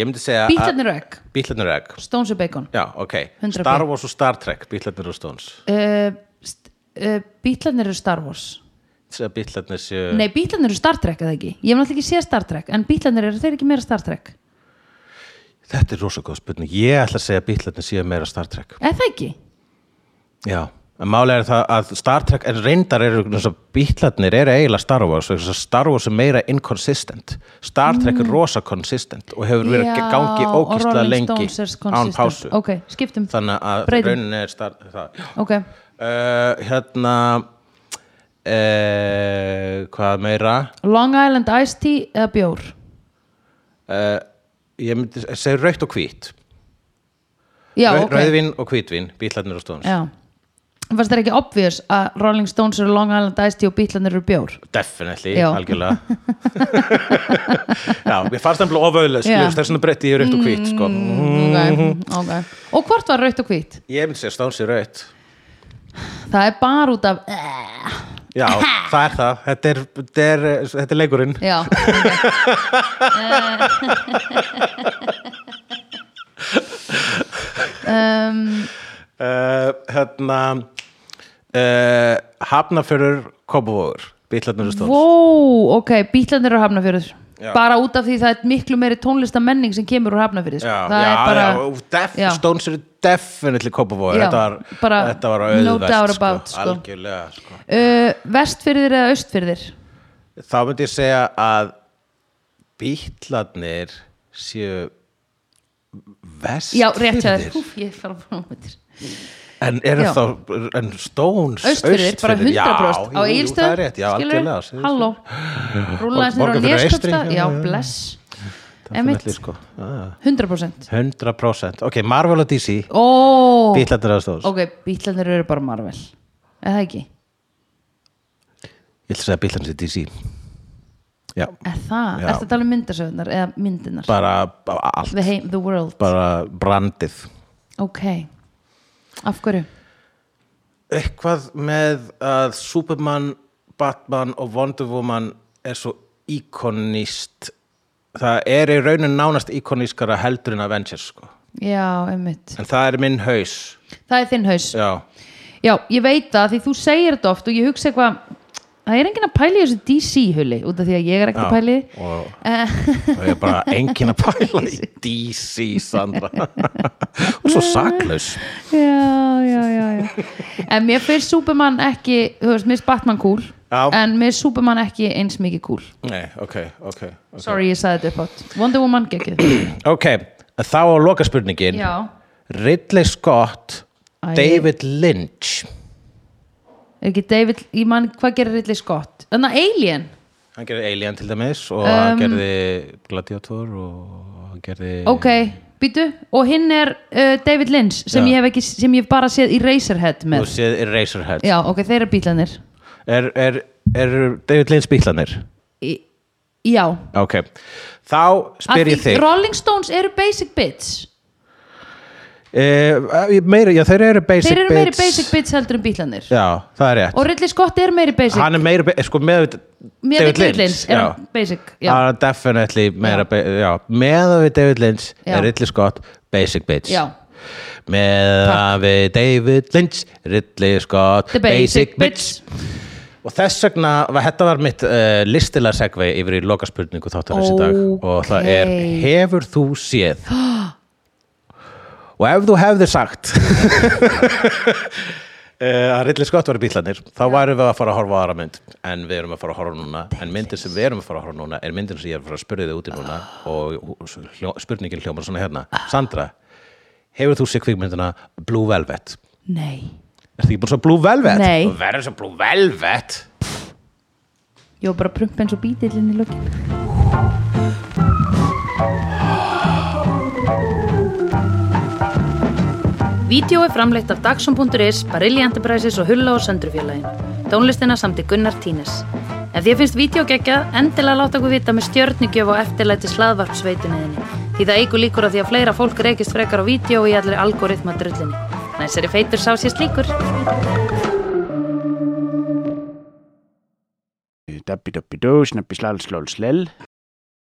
A: Ég myndi segja að-
B: Bítlarnir og egg
A: Bítlarnir og egg
B: Stones og bacon
A: Já, ok
B: 100%.
A: Star Wars og Star Trek, Bítlarnir og Stones
B: uh, st- uh, Bítlarnir eru Star Wars
A: Segja Bítlarnir séu
B: Nei, bítlarnir eru Star Trek eða ekki Ég hef náttúrulega ekki séð Star Trek En bítlarnir eru þeir ekki meira Star Trek
A: Þetta er rosa góð spurning Ég ætla að segja að Bítlarnir séu meira Star Trek
B: Er það ekki?
A: Já En málega er það að Star Trek er reyndar eru eins og bítlarnir eru eiginlega Star Wars vegna þess að Star Wars er meira inconsistent Star Trek er rosa consistent og hefur verið að gangi
B: Mm. og
A: ókýrslega
B: Rolling
A: lengi
B: Stones er
A: án
B: consistent.
A: pásu
B: Ok, skiptum
A: þannig að
B: Breytum.
A: rauninni er Star það.
B: Ok,
A: Uh, hérna uh, hvað meira
B: Long Island Iced Tea eða bjór
A: uh, ég myndi segja raukt og hvít
B: Já,
A: Rau-
B: ok
A: rauðvín og hvítvín, bítlarnir og stóns
B: Já Fannst það ekki obvious að Rolling Stones eru Long Island Iced Tea og bítlarnir eru bjór
A: Definitely,
B: Já.
A: algjörlega Já, mér fannst það ofauðlega,
B: Já. Mm.
A: skilur þess að breytti ég rautt og hvít sko. Mhm.
B: Ok, ok Og hvort var rautt og hvít?
A: Ég myndi segja stóns í rautt
B: Það er bara út af eh,
A: Já, það er það, þetta er, þetta er, þetta er leikurinn
B: Já, ok um,
A: uh, Hérna uh, Hafnafjörur Kópavogur, bítlarnir og stóns
B: Vó, ok, bítlarnir eru hafnafjörður
A: Já.
B: bara út af því það er miklu meiri tónlistamenning sem kemur úr hafnafjörður
A: Já,
B: það
A: já,
B: er bara, uh,
A: já, og def,
B: já.
A: Stones eru definitely Kópavogur,
B: Já,
A: þetta var,
B: bara
A: þetta var
B: no
A: auðvelt
B: doubt about, sko.
A: Algjörlega, sko
B: uh, vestfyrðir eða austfyrðir
A: þá myndi ég segja að bítlarnir séu vest
B: já, rétt hjá þér, húf, ég fara frá mér
A: en eru
B: Já.
A: þá, en stóns
B: austfyrðir, bara 100%
A: já,
B: á
A: jú, jú, það er
B: eigilstöð,
A: rétt, já, algjörlega skilur.
B: halló, rúlaði sem eru á
A: Borgarfjörður eystri,
B: neskjöpsta
A: já,
B: já,
A: já, já.
B: bless,
A: Definitely,
B: emitt
A: sko. Ah,
B: 100%
A: 100% ok, Marvel og DC,
B: ó,
A: bítlarnir á stóns
B: ok, bítlarnir eru bara marvel eða ekki,
A: ég ætla að segja bítlarnir séu DC já,
B: eða það
A: Já.
B: ertu að tala um myndasöðunar eða myndinar
A: bara, bara allt
B: the, heim, the world
A: bara brandið
B: Ok, af hverju?
A: eitthvað með að Superman, Batman og Wonder Woman er svo íkonist það er í raunin nánast íkonískara heldur en Avengers sko.
B: Já, einmitt.
A: en það er minn haus
B: Það er þinn haus. Já,
A: já,
B: ég veit það því þú segir þetta oft og ég hugsa eitthvað það er enginn að pæla í þessu DC-huli út af því að ég er ekkert að
A: Já,
B: pæla í því.
A: og
B: Eh,
A: það er bara engin að pæla í DC Sandra og svo saklaus
B: já, já, já, já. En mér finnst Superman ekki, þú veist, mér finnst Batman cool
A: Já.
B: en mér finnst Superman ekki eins mikið cool.
A: Nei, ok, ok, okay.
B: Sorry, ég sagði þetta upp átt. Wonder Woman gekkið.
A: ok, þá á loka spurningin
B: já.
A: Ridley Scott
B: Æ.
A: David Lynch
B: Er ekki David, ég man, hvað gerir Ridley Scott? Þannig að Alien.
A: Hann gerði Alien til dæmis og hann
B: Um,
A: gerði Gladiator og hann gerði
B: ok, býtu og hinn er uh, David Lynch sem
A: Já.
B: ég hef ekki, sem ég hef bara séð í Razorhead
A: og
B: með,
A: séð Eraserhead
B: já ok, þeir eru bílanir
A: er, er, er David Lynch bíklanir?
B: já,
A: Ok, þá
B: Af
A: spyr ég
B: því
A: þig
B: Rolling Stones eru basic bits
A: e, meira, Já, þeir eru basic
B: þeir eru meiri
A: bits.
B: basic bits heldur en bílanir
A: Já, það er rétt
B: og Ridley Scott er meiri basic
A: Hann er meira, be- sko, með
B: Mér
A: David
B: David
A: Lynch,
B: er
A: já.
B: basic já,
A: Hann er definitely meira,
B: Já.
A: já. já, með við David Lynch
B: Já.
A: er Ridley Scott basic bitch
B: já.
A: með við David Lynch Ridley Scott
B: the basic, bits
A: Og þess vegna, var- þetta var mitt uh, listilega segvei yfir í lokaspurningu þáttarins í dag og það er,
B: Ókei.
A: hefur þú séð? og ef þú hefðir sagt eh, að Ridley Scott var í bílarnir þá værum við að fara að horfa á aðra mynd en við erum að fara að horfa núna en myndin sem við erum að fara að horfa núna er myndin sem ég er að fara að spurði þið úti núna og hljó, spurningin hljómar svona hérna Sandra, hefur þú séð kvikmyndina Blue Velvet?
B: nei,
A: Ertu ekki búin svo Blue Velvet?
B: Nei.
A: Þú verður svo Blue Velvet?
B: ég var bara að prumpa eins og bítillin í lokin
F: Vídeó er framleitt af Dagsum.is, Barilli Enterprises og Hulla og Söndrufjörlægin. Tónlistina samti Gunnar Tínes. Ef þér finnst vídeo geggjað, endilega láta okkur vita með stjörnigjöf og eftirlæti slaðvarpsveituninni. Því það eigur líkur á því að fleira fólk reykist frekar á vídeo í allir algoritma drullinni. Næsari feitur sá sér slíkur.
C: Dabbi dabbi dó, snabbi slal slal slel